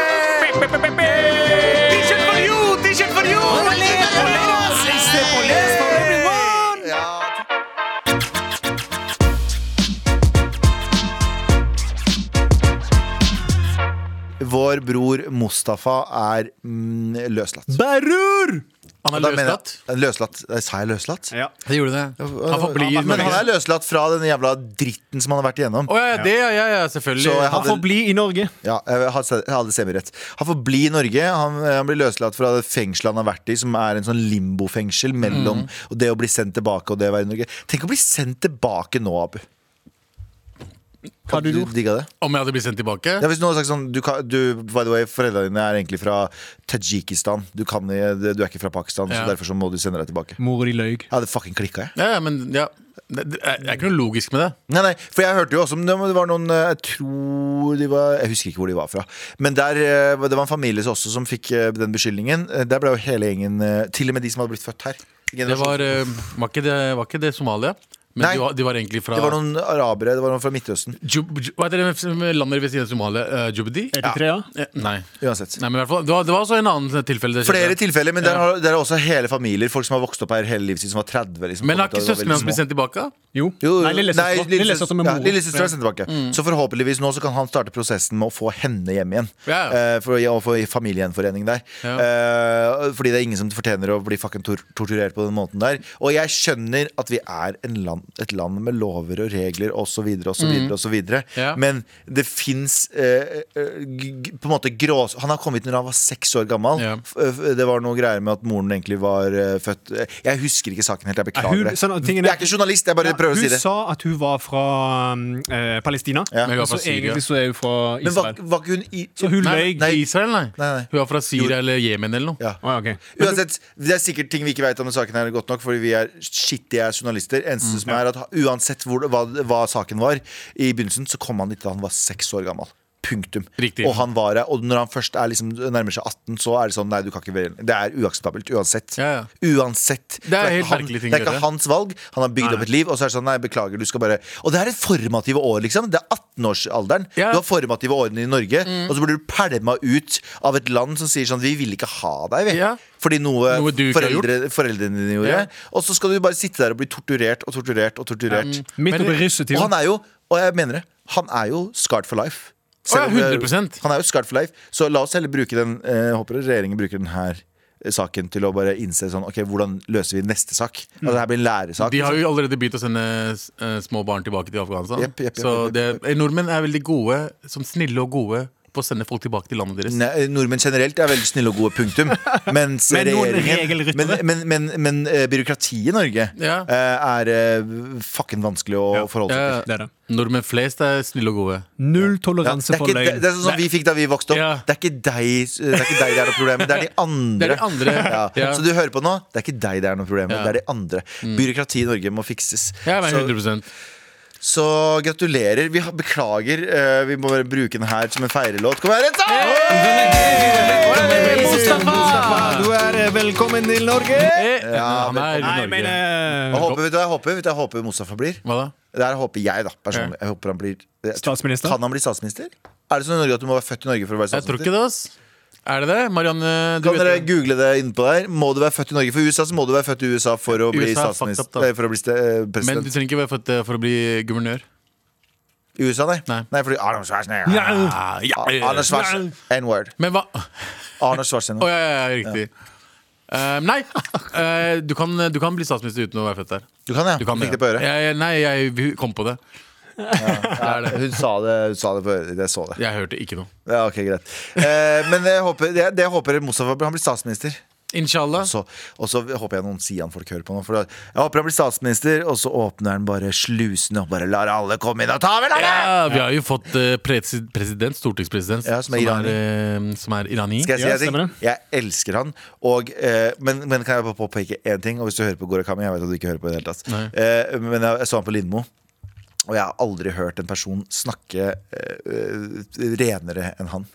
S2: T-skjorter! Ja, Vår bror Mustafa er mm, løslatt.
S4: Berur!
S3: Han er
S2: Da mener jeg-
S3: løslatt.
S2: løslatt. Sa jeg løslatt?
S4: Ja.
S3: Det gjorde det. Han forblir i
S2: Men han
S3: Norge.
S2: er løslatt fra den jævla dritten som han har vært igjennom.
S3: Å ja, det, ja, ja, ja, selvfølgelig.
S2: Så jeg
S4: Han
S2: hadde-
S4: får bli i Norge.
S2: Ja, jeg hadde jeg hadde semirett. Han får bli i Norge. Han, eh, han blir løslatt fra det fengselet han har vært i, som er en sånn limbofengsel mellom og det å bli sendt tilbake og det å være i Norge. Tenk å bli sendt tilbake nå, Abu. Kan du digga det?
S3: Om jeg hadde blitt sendt tilbake?
S2: Ja, hvis noen har sagt sånn du, kan, du, By the way, foreldrene dine er egentlig fra Tadsjikistan. Du, kan i- du er ikke fra Pakistan,
S3: Ja.
S2: så derfor så må du sende deg tilbake.
S4: Mora di løy.
S2: Jeg hadde fucking klikka, jeg.
S3: Ja, ja, men ja. Det, det er det er ikke noe logisk med det.
S2: Nei, nei, for jeg hørte jo også om det det var noen eh, Jeg tror de var Jeg husker ikke hvor de var fra. Men der, eh, var- det var en familie også som fikk eh, den beskyldningen. Eh, Der ble jo hele gjengen eh, Til og med de som hadde blitt født her.
S3: Det var, eh, var, ikke, det, var ikke det Somalia? Men
S2: Nei.
S3: de var, de var egentlig fra
S2: det var noen arabere. Det var noen fra Midtøsten.
S3: Jub, Ju- hva heter det med landet ved siden av Somalia? Uh, Jubdi?
S4: Ja.
S3: Eh, Nei.
S2: Uansett.
S3: Nei, men i hvert fall, det var, det var også en annen tilfelle. det
S2: Flere
S3: skjedde.
S2: tilfeller, men der, har, der er også hele familier. Folk som har vokst opp her hele livet sitt, som var 30. Liksom,
S3: Men har
S2: kommet og var
S3: ikke søstrene
S2: veldig
S3: hans blitt
S2: små.
S3: sendt tilbake?
S4: Jo.
S2: Jo,
S4: Nei,
S2: nei,
S4: lillesøster. Lillesøster med
S2: ja,
S4: mor. Mm.
S2: lillesøster er sendt tilbake. Så forhåpentligvis nå så kan han starte prosessen med å få henne hjem igjen.
S3: Ja, ja.
S2: Eh, for å ja, å få familiegjenforening der.
S3: Ja.
S2: Eh, fordi det er ingen som fortjener å bli fucking tor torturert på den måten der. Og jeg skjønner at vi er en land, land, et land med lover og regler osv.
S4: Mm.
S2: osv.
S3: Ja.
S2: Men det fins eh, eh, g- g- på en måte grås... Han har kommet når han var seks år gammel.
S3: Ja.
S2: F- eh, f- Det var noe greier med at moren egentlig var eh, født Jeg husker ikke saken helt. Jeg
S4: Ja, hun-
S2: beklager det.
S4: sånn, tingen er-
S2: Jeg er ikke journalist, jeg bare
S4: Ja,
S2: prøver å si
S4: hun
S2: det.
S4: sa at hun var fra mm, eh, Palestina.
S2: Ja.
S3: Men hun er fra
S4: Så
S3: Syria.
S4: egentlig så er hun fra
S2: Men var,
S4: Israel.
S2: var ikke hun i
S4: Så hun
S3: Nei,
S4: løy.
S3: nei,
S2: Nei.
S3: Israel, nei.
S2: Nei, nei.
S3: Hun er fra Syria eller Jemen eller noe.
S2: ja.
S4: Å, ja, ok. Men du-
S2: Uansett, Det er sikkert ting vi ikke vet om den saken her godt nok, fordi vi er skittige journalister. Eneste
S3: Mm.
S2: som er at ha- Uansett hvor, hva, hva saken var i begynnelsen, så kom han dit da han var seks år gammel. Punktum.
S3: Riktig.
S2: Og, han var, her, og når han først er liksom, nærmer seg 18, så er det sånn Nei, du kan ikke være Det er uakseptabelt. Uansett.
S3: Ja, ja.
S2: Uansett.
S3: Det er helt
S2: ikke han,
S3: merkelige ting
S2: det er
S3: å
S2: ikke
S3: gjøre.
S2: hans valg. Han har bygd opp et liv, og så er det sånn Nei, beklager, du skal bare Og det er et formative år, liksom. Det er 18-årsalderen.
S3: Ja. Mm.
S2: Du har formative årene i Norge, og så blir du pælma ut av et land som sier sånn Vi vil ikke ha deg, vi.
S3: Ja.
S2: Fordi noe,
S3: Noe du ikke har
S2: foreldre, foreldrene dine gjorde.
S3: Ja.
S2: Og så skal du bare sitte der og bli torturert og torturert og torturert.
S4: Midt
S3: Men-
S4: oppi
S2: Og
S4: russetiden.
S2: han er jo, og jeg mener det, han er jo scarred for life.
S3: Å ja,
S2: om det er-
S3: 100%.
S2: Han er jo scarred for life. Så la oss heller bruke den eh, Jeg håper regjeringen bruker den her eh, saken til å bare innse sånn Ok, hvordan løser vi neste sak? Altså, det her blir en læresak.
S3: Mm. De har jo allerede begynt å sende eh, små barn tilbake til Afghanistan.
S2: Jepp, jepp, jepp,
S3: så
S2: jepp,
S3: det, eh, nordmenn er veldig gode, som snille og gode, på å sende folk tilbake til landet deres.
S2: Nei, nordmenn generelt er veldig snille og gode, punktum. Mens
S4: Men noen
S2: regjeringen men,
S4: regelryttere.
S2: men, men, men eh, byråkratiet i Norge
S3: Ja.
S2: eh, er eh, fucking vanskelig å forholde seg til.
S3: Ja,
S4: Eh, Det er det.
S3: nordmenn flest er snille og gode.
S4: Null
S2: Ja,
S4: toleranse
S2: det, er
S4: for
S2: ikke, det,
S4: løgn.
S2: det er sånn som vi fikk da vi vokste opp.
S3: Ja.
S2: Det, er ikke deg, det er ikke deg det er noe problem med, det er de andre.
S3: Det er de andre.
S2: Ja.
S3: Ja.
S2: Så du hører på nå, det er ikke deg det er noe problem med,
S3: Ja.
S2: det
S3: Mm.
S2: er de andre. Byråkratiet i Norge må fikses.
S3: Jeg er
S2: Så,
S3: 100
S2: så gratulerer. Vi har, beklager, eh, vi må bare bruke den her som en feirelåt. Kom her, Rensa!
S4: Hei, Mustafa! Du er eh, velkommen til Norge!
S3: Eh, Han er i
S4: Nei, eh,
S3: Norge.
S4: jeg mener
S2: Jeg håper, vet du, hva jeg håper, vet du, hva jeg håper Mustafa blir.
S3: Hva da?
S2: Det her håper jeg, da. personlig Jeg håper han blir jeg-
S4: Statsminister?
S2: Kan han bli statsminister? Er det sånn i Norge at du må være født i Norge for å være
S3: Jeg tror
S2: statsminister?
S3: ikke det, ass. Er det det? Marianne, du
S2: Kan
S3: vet
S2: dere
S3: det.
S2: google det innpå der? Må du være født i Norge for USA, så må du være født i USA for å bli,
S3: USA er fucked
S2: statsminister,
S3: up, da.
S2: eh, for å bli ste- eh,
S3: Men du
S2: president.
S3: trenger ikke være født eh, for å bli guvernør.
S2: I USA, nei.
S3: Nei.
S2: nei fordi Arnold Schwarzenegger
S4: Ja.
S2: Arnold Schwarzenegger N-word.
S3: Ah, Men hva
S2: Arnold
S3: Å
S2: Schwarzenegger.
S3: ja, ja, ja, riktig. Eh, nei, Eh, du, kan, du kan bli statsminister uten å være født der.
S2: Du kan, ja.
S3: Du kan
S2: Fikk
S3: det.
S2: det på øret.
S3: Jeg, jeg- nei, jeg kom på det. det er det.
S2: Hun sa det, hun sa det på øret. Jeg så det.
S3: Jeg hørte ikke noe.
S2: Ja, ok, greit. Eh, men jeg håper, det, det jeg håper Mustafa blir- han blir statsminister.
S3: Inshallah.
S2: Så, og så håper jeg noen Sian-folk hører på nå. For da- jeg håper han blir statsminister, og så åpner han bare slusene og bare lar alle komme inn og ta over landet!
S3: Ja, vi har jo fått eh, presi president, stortingspresident,
S2: Ja, som er
S3: eh, som er irani.
S2: Skal jeg si
S4: Ja,
S2: en ting?
S4: stemmer det.
S2: Jeg elsker han. Og, eh, men, men kan jeg bare påpeke én ting? Og hvis du hører på Gorakami, jeg vet at du ikke hører på det i det hele tatt. Eh, men jeg, jeg så han på Lindmo. Og jeg har aldri hørt en person snakke eh, eh, renere enn han.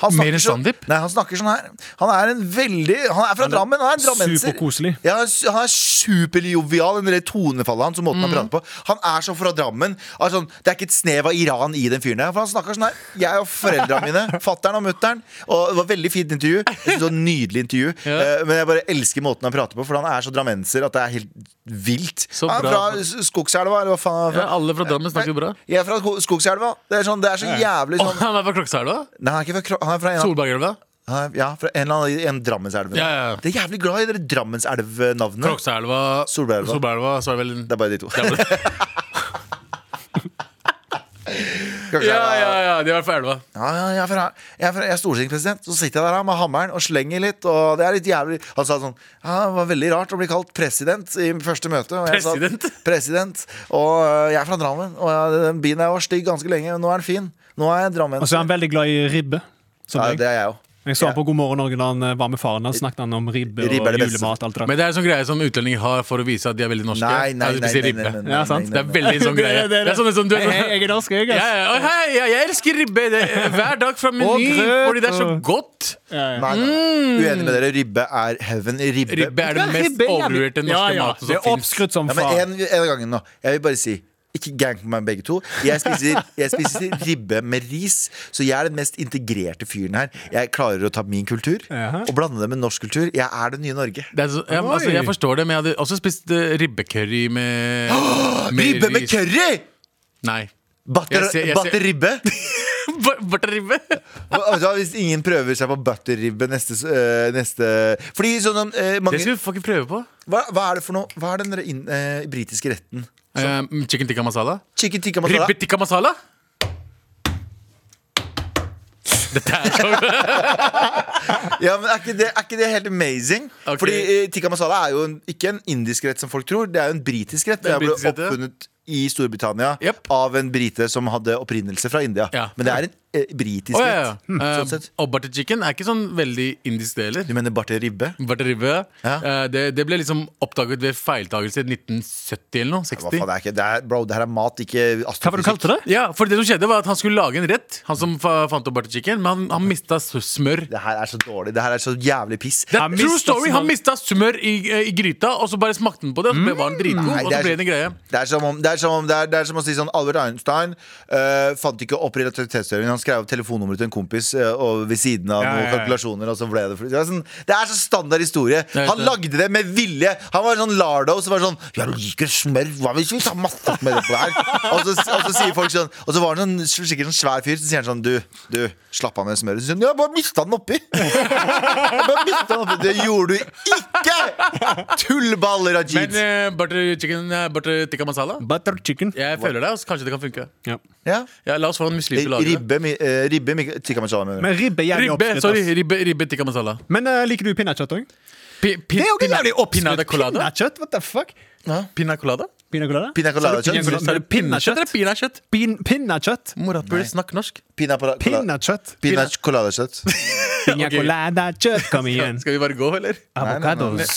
S2: han
S3: Mer enn
S2: snakker så-
S3: Sandeep?
S2: Nei, han snakker sånn her. Han er en veldig Han er fra Drammen. Han er en drammenser.
S4: superkoselig.
S2: Ja, han er- han er superjovial, den der tonefallet hans og måten han
S3: Mm.
S2: prater på. Han er så fra Drammen. Han er sånn, det er ikke et snev av Iran i den fyren her. For han snakker sånn her. Jeg og foreldra mine, fattern og mutter'n. Og det var veldig fint intervju. Jeg synes det var et Nydelig intervju. Eh, Men jeg bare elsker måten han prater på, for han er så drammenser at det er helt vilt.
S3: Så
S2: han er
S3: bra.
S2: fra S- Skogselva, eller hva faen han er
S3: Ja,
S2: fra?
S3: alle fra Drammen snakker jo bra.
S2: Jeg er fra Ko- Skogselva. Det er, sånn, det er så jævlig
S3: Og
S2: Eh, sånn
S3: han er fra Krokselva?
S2: Nei, han er ikke fra, Kro- han er fra en av
S3: Solbergelva?
S2: han er- Ja, fra en eller annen en Drammenselv.
S3: Ja, ja, ja.
S2: Det er jævlig glad i dere Drammenselv-navnene.
S3: Krokselva,
S2: Solbergelva.
S3: Solbergelva, så er det vel en
S2: Det er bare de to. Kanskje
S3: Ja,
S2: jeg,
S3: ja,
S2: var-
S3: ja, de er fra elva.
S2: ja, ja, jeg er fra, jeg er, fra, jeg er stortingspresident. Så sitter jeg der da med hammeren og slenger litt. Og det er litt jævlig Han sa sånn ja, Det var veldig rart å bli kalt president i første møte. Og jeg sa,
S3: President?
S2: president. Og øh, jeg er fra Drammen. Og jeg, den byen der var stygg ganske lenge, men nå er den fin. Nå er jeg Drammen.
S4: Og så er han veldig glad i ribbe. Som
S2: ja,
S4: jeg.
S2: det er jeg òg.
S4: jeg så han på God morgen Norge da han eh, var med faren hans. Snakket han om ribbe,
S2: Ribbe er det
S4: og
S2: beste.
S4: julemat. alt det der.
S3: Men det er en sånn greie som utlendinger har for å vise at de er veldig norske.
S2: Nei, nei,
S3: Altså,
S2: nei.
S3: de sier
S2: nei, nei,
S3: ribbe.
S2: nei, nei,
S4: Ja, sant.
S2: nei, nei,
S3: Det er
S2: nei.
S3: veldig sånn greie. Det er sånn som du er
S4: Hei, hei,
S3: sånn
S4: jeg er norsk, jeg.
S3: ja,
S4: ass.
S3: ja, hei, ja, jeg elsker ribbe det, hver dag fra Meny
S4: grøt,
S3: fordi det er så
S4: og-
S3: godt.
S2: Nei, nei, nei. Uenig med dere. Ribbe er heaven. Ribbe,
S3: Mm. Ribbe er
S4: Ja,
S3: den mest
S4: ribbe er jævlig-
S3: overvurderte norske
S4: Ja, ja,
S3: maten
S4: Det
S3: som
S4: er
S3: fins.
S4: oppskrytt som
S2: Ja, men
S4: faen.
S2: en, en av gangen nå Jeg vil bare si ikke gang på meg begge to jeg spiser, jeg spiser ribbe med ris Så jeg er den mest integrerte fyren her Jeg klarer å ta min kultur
S4: Jaha.
S2: Og blande det med norsk kultur Jeg er det nye Norge
S3: Det er så, ja, men altså,
S4: Oi.
S3: jeg forstår det, men jeg hadde også spist eh, ribbecurry med,
S2: Ribbe med
S3: ris.
S2: curry!
S3: Nei.
S2: Butter,
S3: Jeg ser- jeg ser-
S2: butter ribbe
S3: Barteribbe?
S2: Og- og da, Hvis ingen prøver seg på butter ribbe neste, s- øh, neste Fordi sånn øh,
S3: Det
S2: mange,
S3: skal vi fucking prøve på.
S2: hva, hva er det for noe Hva er den re- inn- øh, eh, britiske retten
S3: Eh, chicken tikka masala.
S2: Chicken tikka masala.
S3: Ribbe tikka masala. Dette er så
S2: Ja, men er ikke det, er ikke det helt amazing?
S3: Ok.
S2: Fordi eh, tikka masala er jo en, ikke en indisk rett som folk tror, det er jo en britisk rett.
S3: Det er
S2: Det
S3: en
S2: ble
S3: britisk rett, ja.
S2: oppfunnet i Storbritannia
S3: Yep.
S2: av en brite som hadde opprinnelse fra India.
S3: Ja.
S2: Men det er en eh, britisk
S3: Å, ja, ja.
S2: rett.
S3: Eh,
S2: Sånn sett.
S3: og butter chicken er ikke sånn veldig indisk, det heller.
S2: Du mener barte ribbe?
S3: Butter ribbe.
S2: Ja.
S3: eh, det, det ble liksom oppdaget ved feiltagelse i 1970 eller noe.
S2: Hva
S3: 60.
S2: faen, det er ikke, det er, bro, det her er mat, ikke
S4: Hva var det du kalte det?
S3: Ja, for det som skjedde var at Han skulle lage en rett, han som fa fant opp butter chicken, men han, han mista s- smør.
S2: Det her er så dårlig. Det her er så jævlig piss.
S3: Det er
S4: Han
S3: true
S4: mistet
S3: story, Han
S4: smør.
S3: mista smør i, i gryta, og så bare smakte den på det. Og så ble var den dritgod,
S2: Nei,
S3: og
S2: det
S3: så
S2: er-
S3: ble det en greie.
S2: Det er som om, det er som om, det er, det er som å si sånn Albert Einstein eh, fant ikke opp relativitetsteorien. Han skrev opp telefonnummeret til en kompis eh, og ved siden av
S4: Ja,
S2: noen
S4: ja, ja.
S2: kalkulasjoner. Og så ble det, det, er sånn, det er så standard historie.
S3: er
S2: Han
S3: det.
S2: lagde det med vilje. Han var sånn Lardo som var sånn Ja, du liker smør. Hva hvis vi tar masse smør på her? og, så, og så sier folk sånn Og så var han sånn, sikkert en svær fyr, så sier han sånn Du, du, slapp av med smøret. Så sier han ja, bare mista den oppi. Jeg bare mistet den oppi. Det gjorde du ikke! Tullballer, Ajit.
S3: Men eh, butter chicken, eh, butter tikka masala
S4: Butter chicken.
S3: Jeg føler det, og så kanskje det kan funke.
S4: Ja.
S2: ja.
S3: Ja, La oss få en muslim til å lage det.
S2: Ribbe, mi- eh, ribbe mi- tikka masala mener du?
S4: Men ribbe er jævlig
S3: Ribbe,
S4: oppskrytt.
S3: sorry,
S4: ass.
S3: ribbe, ribbe tikka masala.
S4: Men eh, liker du pinnekjøtt òg?
S3: Pi, pi,
S4: Det er jo ikke
S3: pina-
S4: jævlig
S3: Pinada
S4: oppskrytt.
S3: colada?
S4: Pinnekjøtt, what the fuck?
S3: Pina colada?
S4: Pina colada?
S2: Pina colada
S4: Sa du
S2: kjøtt?
S4: pina colada?
S3: Sa du pinnekjøtt eller pinakjøtt?
S4: Pin, pinnekjøtt.
S3: Morapuler, snakk norsk.
S2: Pina, para- cola-
S4: Pinnekjøtt.
S2: pina colada kjøtt.
S4: Pina colada kjøtt, kom igjen.
S3: Skal vi bare gå, eller?
S4: Avokados.